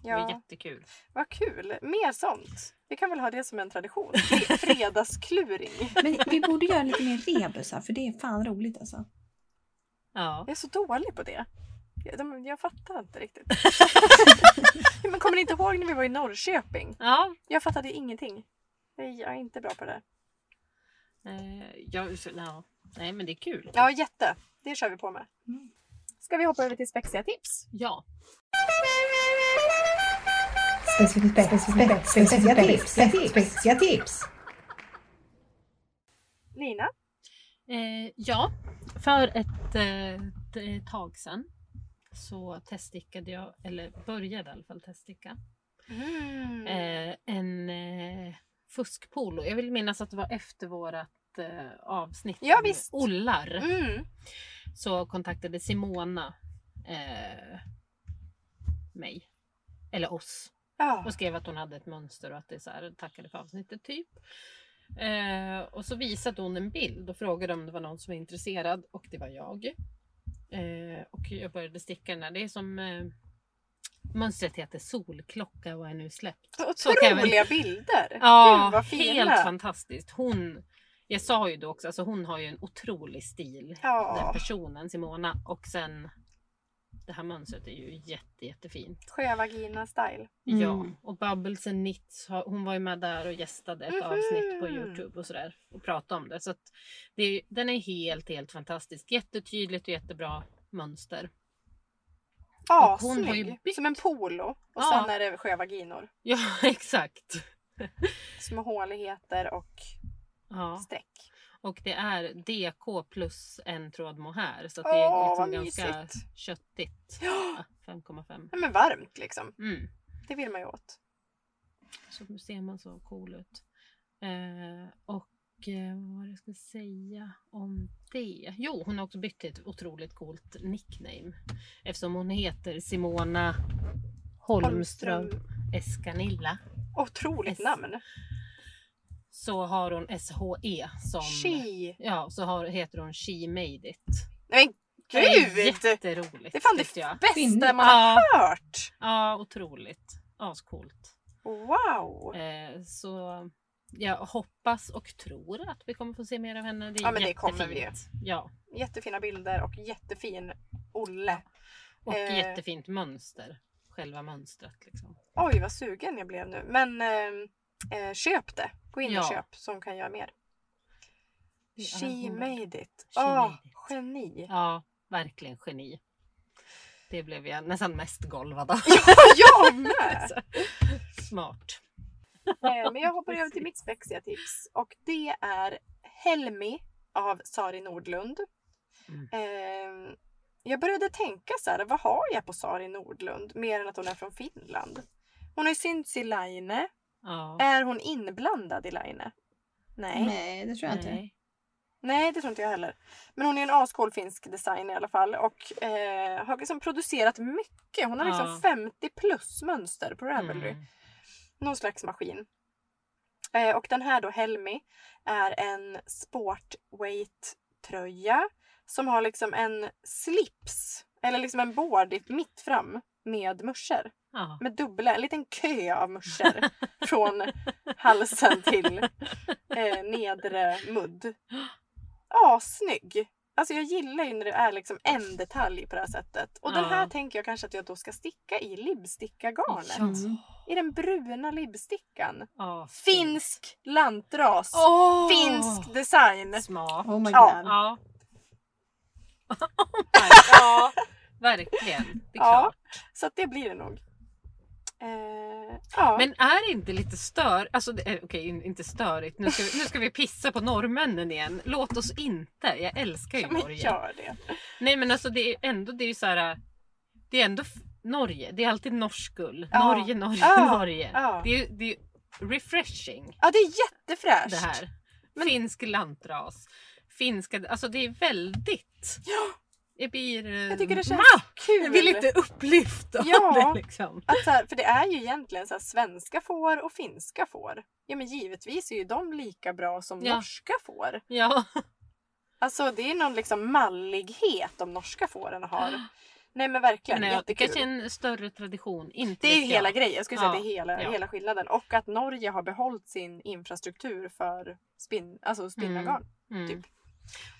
S1: det var
S2: Ja,
S1: jättekul.
S2: vad kul. Mer sånt. Vi kan väl ha det som en tradition.
S1: [LAUGHS]
S2: Fre- Fredagskluring.
S3: Men vi borde göra lite mer rebusar, för det är fan roligt alltså.
S1: Ja.
S2: Jag är så dålig på det. Jag, de, jag fattar inte
S1: [LAUGHS]
S2: riktigt. Ja, Men kommer ni inte ihåg när vi var i Norrköping?
S1: Ja,
S2: Jag fattade ingenting. Nej, Jag är inte bra på det.
S1: eh, jag, så- ja. Nej men det är kul.
S2: Ja, jätte. Det kör vi på med.
S3: Mm.
S2: Ska vi hoppa över till spexiga tips?
S1: Ja.
S4: Specifica tips, specifica tips.
S2: Lina?
S1: Eh, ja, för ett, eh, ett tag sedan så teststickade jag, eller började i alla fall teststicka,
S2: Mm.
S1: eh, en eh, fuskpolo. Jag vill minnas att det var efter vårat eh, avsnitt
S2: Ja,
S1: om
S2: visst.
S1: ollar. Eh,
S2: Mm.
S1: så kontaktade Simona eh, mig. Eller oss.
S2: Ja.
S1: Och skrev att hon hade ett mönster och att det är så här, tackade för avsnittet typ. Eh, och så visade hon en bild och frågade om det var någon som var intresserad och det var jag. Eh, och jag började sticka den här. Det är som eh, Mönstret heter Solklocka och är nu släppt.
S2: Så
S1: Så kan jag väl-
S2: Otroliga bilder! Gud
S1: Ja,
S2: vad fina!
S1: helt fantastiskt. Hon, jag sa ju då också, alltså hon har ju en otrolig stil den
S2: Ja,
S1: personen Simona och sen det här mönstret är ju jätte, jättefint.
S2: sjövagina-style.
S3: Mm.
S1: Ja, och Bubbles and Knits, har- hon var ju med där och gästade ett
S2: Mhm.
S1: avsnitt på Youtube och sådär och pratade om det. Så att det, är- den är helt, helt fantastisk. Jättetydligt och jättebra mönster. [LAUGHS]
S2: Ja,
S1: Och hon har ju
S2: snygg!
S1: byggt-
S2: Som en polo. Och
S1: Ja.
S2: sen är det sjövaginor.
S1: Ja, exakt.
S2: Små håligheter och
S1: Ja,
S2: streck.
S1: och det är DK plus en tråd mohair så att det
S2: Åh,
S1: är liksom
S2: vad
S1: ganska
S2: mysigt.
S1: köttigt.
S2: Ja,
S1: Ja, 5,5.
S2: men varmt liksom.
S1: Mm.
S2: Det vill man ju åt.
S1: Så Alltså, ser man så cool ut. Eh, och eh, vad var det jag skulle säga om det? Jo, hon har också bytt till ett otroligt coolt nickname. Eftersom hon heter Simona Holmström Escanilla
S2: Otroligt
S1: S.
S2: namn.
S1: så har hon SHE som...
S2: She.
S1: Ja, så har, heter hon She Made It.
S2: Nej men
S1: Det är
S2: gud! Det
S1: jätteroligt
S2: är fan det
S1: tyckte jag. Ah.
S2: bästa
S3: Kvinnor.
S2: man har
S1: Ja.
S2: hört!
S1: Ja, otroligt. Ascoolt.
S2: Wow!
S1: Eh, så jag hoppas och tror att vi kommer få se mer av henne. Det är
S2: Ja, men det kommer vi
S1: jättefint. Ja,
S2: Jättefina bilder och jättefin Olle.
S1: och
S2: Eh.
S1: jättefint mönster. Själva mönstret liksom.
S2: Oj vad sugen jag blev nu. Men eh, eh, köp det. Gå in
S1: Ja.
S2: och köp så hon kan göra mer.
S1: Det är
S2: She
S1: hon.
S2: made it.
S1: She
S2: Åh,
S1: made it.
S2: geni.
S1: Ja, verkligen geni. Det blev jag nästan mest golvad
S2: [LAUGHS]
S1: av. [LAUGHS]
S2: Jag med!
S1: Smart.
S2: Eh, Men jag hoppar över till mitt spexiga tips. Och det är Helmi av Sari Nordlund.
S1: Mm.
S2: Eh, jag började tänka så här, vad har jag på Sari Nordlund? Mer än att hon är från Finland. Hon har ju synts i Line.
S1: Ja.
S2: Är hon inblandad i Line? Nej.
S3: Nej, det tror jag inte.
S1: Nej.
S2: Nej, det tror inte jag heller. Men hon är en ascool finsk designer i alla fall och eh, har liksom producerat mycket. Hon har
S1: Ja.
S2: liksom 50 plus mönster på Ravelry.
S1: Mm.
S2: Någon slags maskin. Eh, och den här då, Helmi, är en sportweight-tröja som har liksom en slips, eller liksom en board i- mitt fram med muscher.
S1: Ja.
S2: Med dubbla, en liten kö
S1: [LAUGHS]
S2: av muscher från halsen till eh, nedre mudd. Ja, snygg! Alltså jag gillar ju när det är liksom en detalj på det här sättet. Och den
S1: Ja.
S2: här tänker jag kanske att jag då ska sticka i libbstickagarnet.
S3: Mm.
S2: I den bruna libbstickan.
S1: Ja, fint.
S2: Finsk lantras.
S1: Mm. Åh!
S2: Finsk design. [LAUGHS]
S1: Smart.
S3: Oh my
S2: Ja.
S3: god.
S1: Ja.
S2: [LAUGHS]
S1: Oh my god. Ja, [LAUGHS] verkligen. Det är
S2: Ja.
S1: klart.
S2: Så att det blir det nog. Eh, ja.
S1: Men är det inte lite stör... Alltså det är- okej, in- inte störigt. Nu ska, vi, nu ska vi pissa på norrmännen igen. Låt oss inte. Jag älskar ju
S2: Ja, men
S1: Norge.
S2: gör det.
S1: Nej men alltså det är ändå, det är ju så här. Det är ändå f- Norge. Det är alltid norsk ull.
S2: Ja.
S1: Norge, Norge,
S2: Ja,
S1: Norge.
S2: ja.
S1: Det är ju det är ju refreshing
S2: Ja, det är jättefräscht.
S1: det här. Finsk lantras. Finska, alltså det är väldigt...
S2: Ja.
S1: Det blir... eh,
S2: Jag tycker det känns
S1: Jag
S2: kul.
S1: blir lite upplyft av
S2: Ja.
S1: det liksom.
S2: Att så här, för det är ju egentligen så här, svenska får och finska får. Ja men givetvis är ju de lika bra som
S1: Ja.
S2: norska får.
S1: Ja.
S2: Alltså det är någon liksom mallighet de norska
S1: [GASPS]
S2: fåren har. Nej men verkligen,
S1: Nej, det
S2: jättekul.
S1: kanske är en större tradition. Inte
S2: Det är ju
S1: vet
S2: hela
S1: jag.
S2: grejen. Jag skulle säga
S1: Ja,
S2: att det är hela,
S1: ja.
S2: hela skillnaden. Och att Norge har behållit sin infrastruktur för spinn, alltså spinnagarn.
S1: Mm.
S2: typ.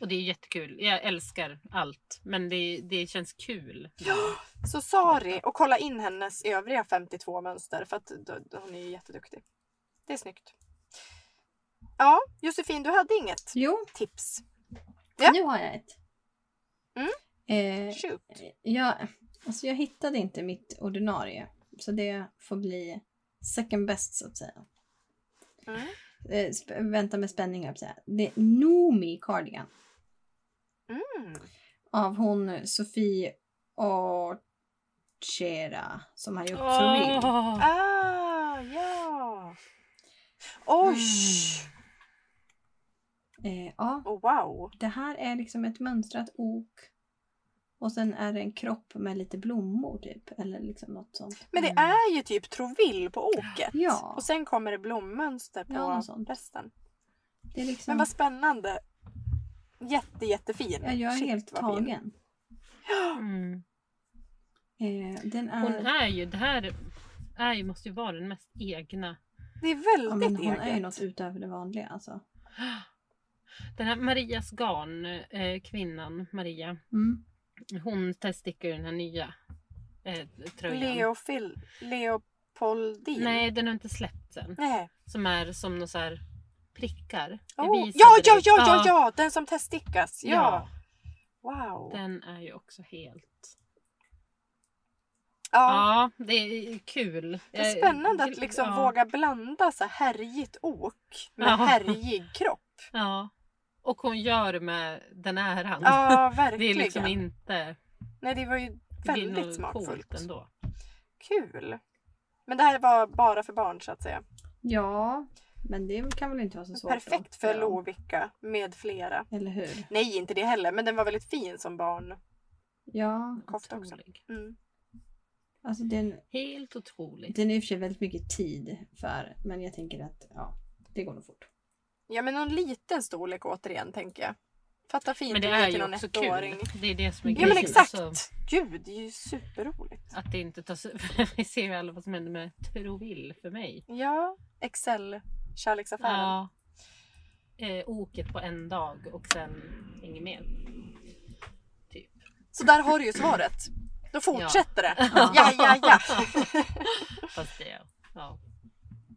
S1: Och det är jättekul. Jag älskar allt. Men det, det känns kul. Mm.
S2: Så Sari, och kolla in hennes övriga 52 mönster för att d- d- hon är ju jätteduktig. Det är snyggt. Ja, Josefin du hade inget
S3: Jo,
S2: tips. Ja.
S3: nu har jag ett.
S2: Mm.
S3: Eh,
S2: Shoot.
S3: jag, alltså jag hittade inte mitt ordinarie, så det får bli second best så att säga.
S2: Mm.
S3: Eh, sp- vänta med spänning, höll jag på att säga. Det är Noomi Cardigan
S2: Mm.
S3: av hon Sofie Orchera som har gjort Surreal.
S1: Åh.
S2: Ah, ja. Oj!
S3: Mm. Eh, ja,
S2: Oh, wow.
S3: det här är liksom ett mönstrat ok. Och sen är det en kropp med lite blommor typ. Eller liksom något sånt.
S2: Men det
S1: Mm.
S2: är ju typ trovill på åket.
S3: Ja.
S2: Och sen kommer det blommönster på
S3: Ja, något sånt.
S2: resten.
S3: Det är liksom,
S2: Men vad spännande. Jätte, jättefin.
S3: ja, jag är
S2: Shit,
S3: helt
S2: vad fin.
S3: tagen.
S1: Mm.
S3: Eh, den är...
S1: Hon är ju, det här är ju, måste ju vara den mest egna.
S2: Det är
S3: ja,
S2: väldigt
S3: men hon är ju
S2: eget.
S3: något utöver det vanliga alltså.
S1: Den här Marias Garn, eh, kvinnan Maria.
S3: Mm.
S1: Hon teststickar ju den här nya eh, tröjan.
S2: Leofil... Leopoldin?
S1: Nej, den har inte släppts än.
S2: Nej.
S1: Som är som några så här prickar. Jag
S2: Oh.
S1: visade
S2: Ja, ja,
S1: dig.
S2: ja, ja, ja! Den som teststickas. Ja. Wow.
S1: Den är ju också helt...
S2: Ja.
S1: Ja, det är kul.
S2: Det är
S1: Eh,
S2: spännande att
S1: till-
S2: liksom
S1: ja,
S2: våga blanda så här härjigt ok med
S1: Ja. [LAUGHS]
S2: härjig kropp.
S1: Ja. Och hon gör det med den äran.
S2: Ja,
S1: det är
S2: verkligen.
S1: liksom inte...
S2: Nej, det var ju
S1: det är
S2: väldigt
S1: nog coolt
S2: smakfullt.
S1: ändå.
S2: Kul! Men det här var bara för barn så att säga.
S3: Ja, men det kan väl inte vara så svårt. då?
S2: Perfekt för
S3: Ja.
S2: Lovikka med flera.
S3: Eller hur?
S2: Nej, inte det heller, men den var väldigt fin som barn.
S3: Ja,
S2: Kofta också.
S1: Otrolig.
S2: Mm.
S3: alltså den,
S1: Helt otroligt.
S3: den är i och för sig väldigt mycket tid för, men jag tänker att ja, det går nog fort.
S2: Ja, men någon liten storlek återigen tänker jag. Fatta fint
S1: Men det
S2: att
S1: är
S2: ge till
S1: ju
S2: någon
S1: också
S2: ettåring.
S1: kul. Det är det som är
S2: Ja, men
S1: grejen.
S2: exakt.
S1: Alltså,
S2: Gud, det är ju superroligt.
S1: att det inte tas [LAUGHS] Vi ser ju alla vad som händer med Trovill för mig.
S2: Ja, Excel-kärleksaffären.
S1: Ja. Eh, oket på en dag och sen inget mer. Typ.
S2: Så där har du ju svaret. Då fortsätter det. Ja, ja,
S1: [LAUGHS]
S2: ja.
S1: Fast det, ja.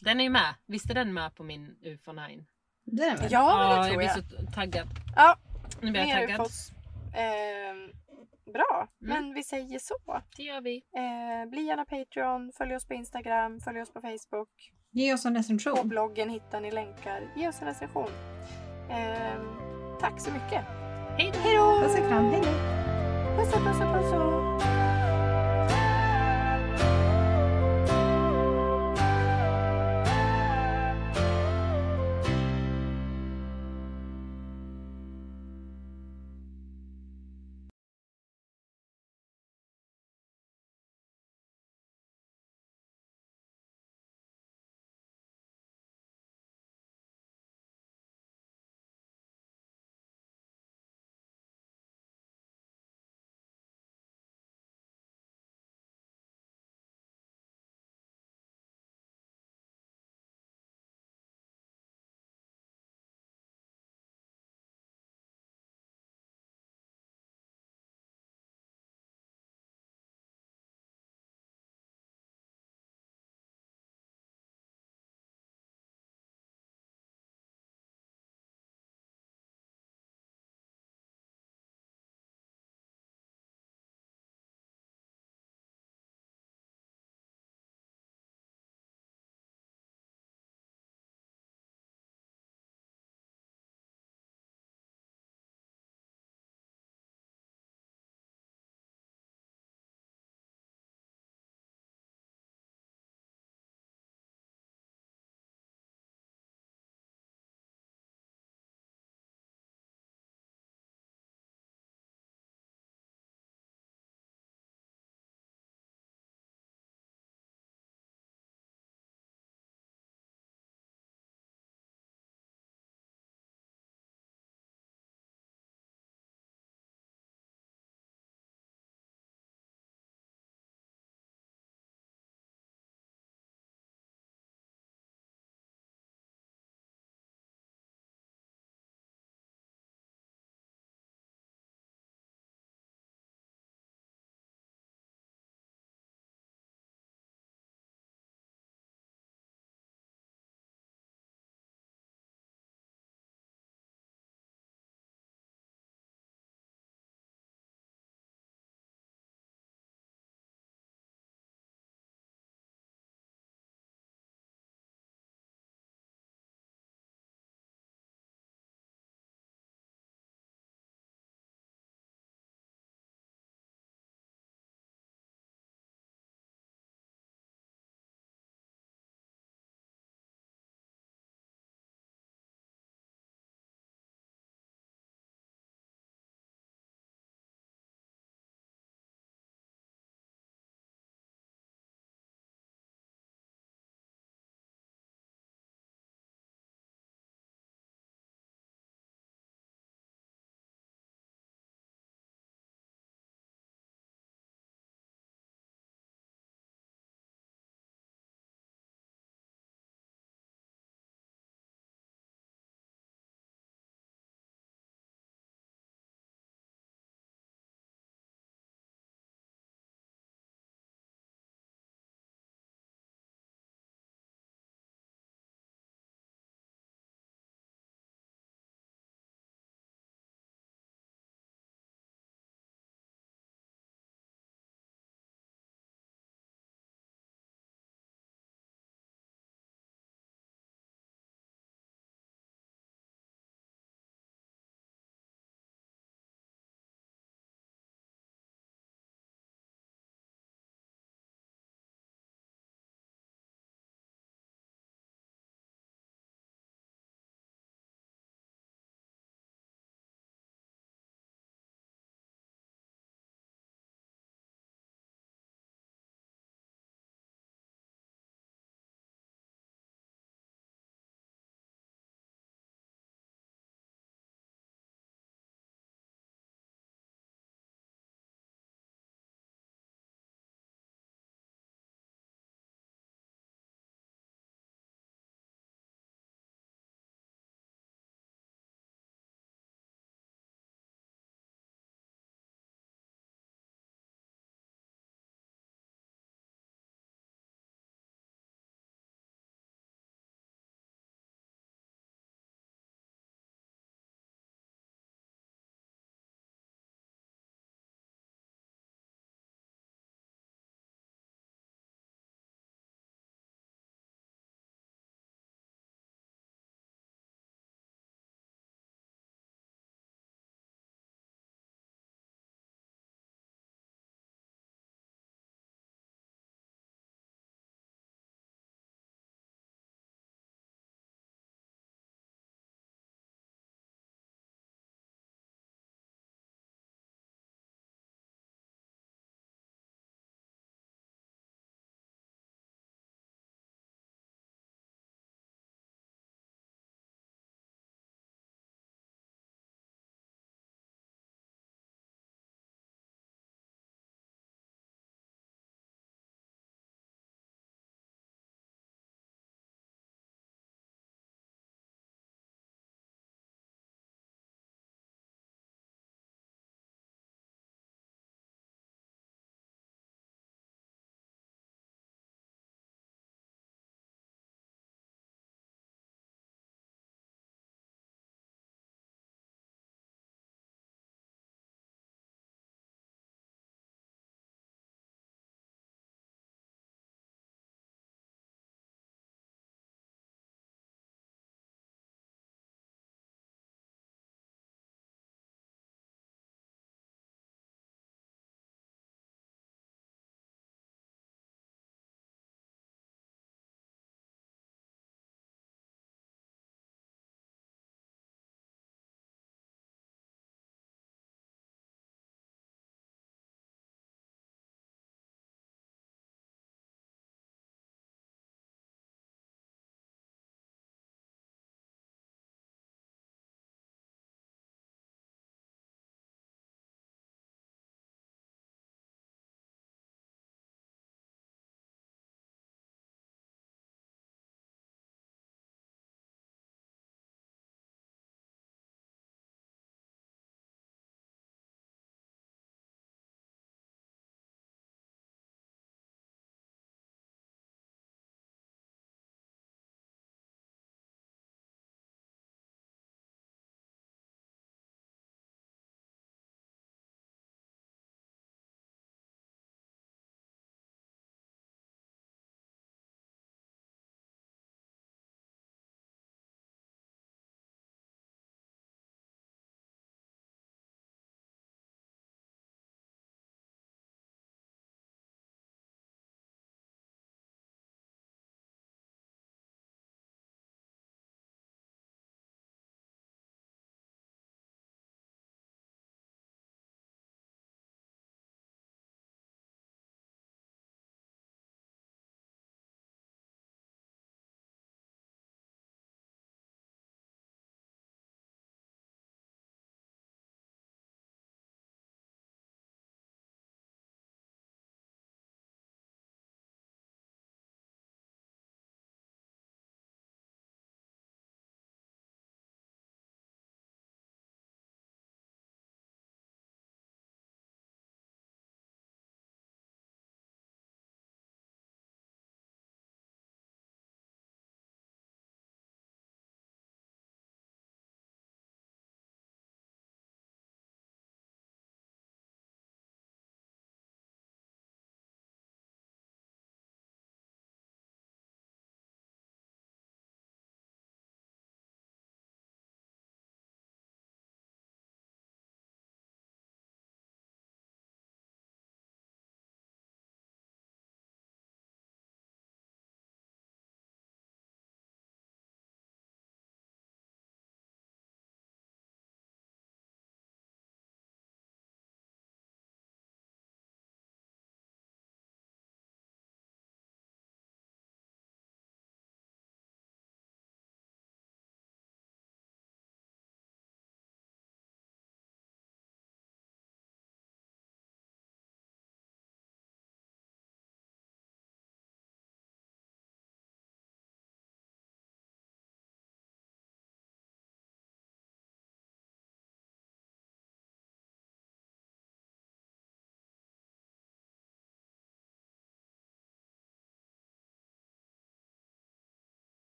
S1: Den är ju med. Visst är den med på min UFO9?
S3: Det är väl?
S2: Ja, men det
S1: jag
S2: tror
S1: blir
S2: jag.
S1: så taggad.
S2: Ja,
S1: Nu blir jag
S2: Mer
S1: taggad.
S2: ufos. Ehm, bra,
S1: Mm.
S2: men vi säger så.
S1: Det gör vi.
S2: Eh, bli gärna Patreon, följ oss på Instagram, följ oss på Facebook.
S3: Ge oss en
S2: På
S3: recension.
S2: bloggen hittar ni länkar. Ge oss en recension. Ehm, tack så mycket.
S1: Hej då!
S2: Hej då!
S3: Puss och kram, hej då!
S2: Puss och puss och puss och...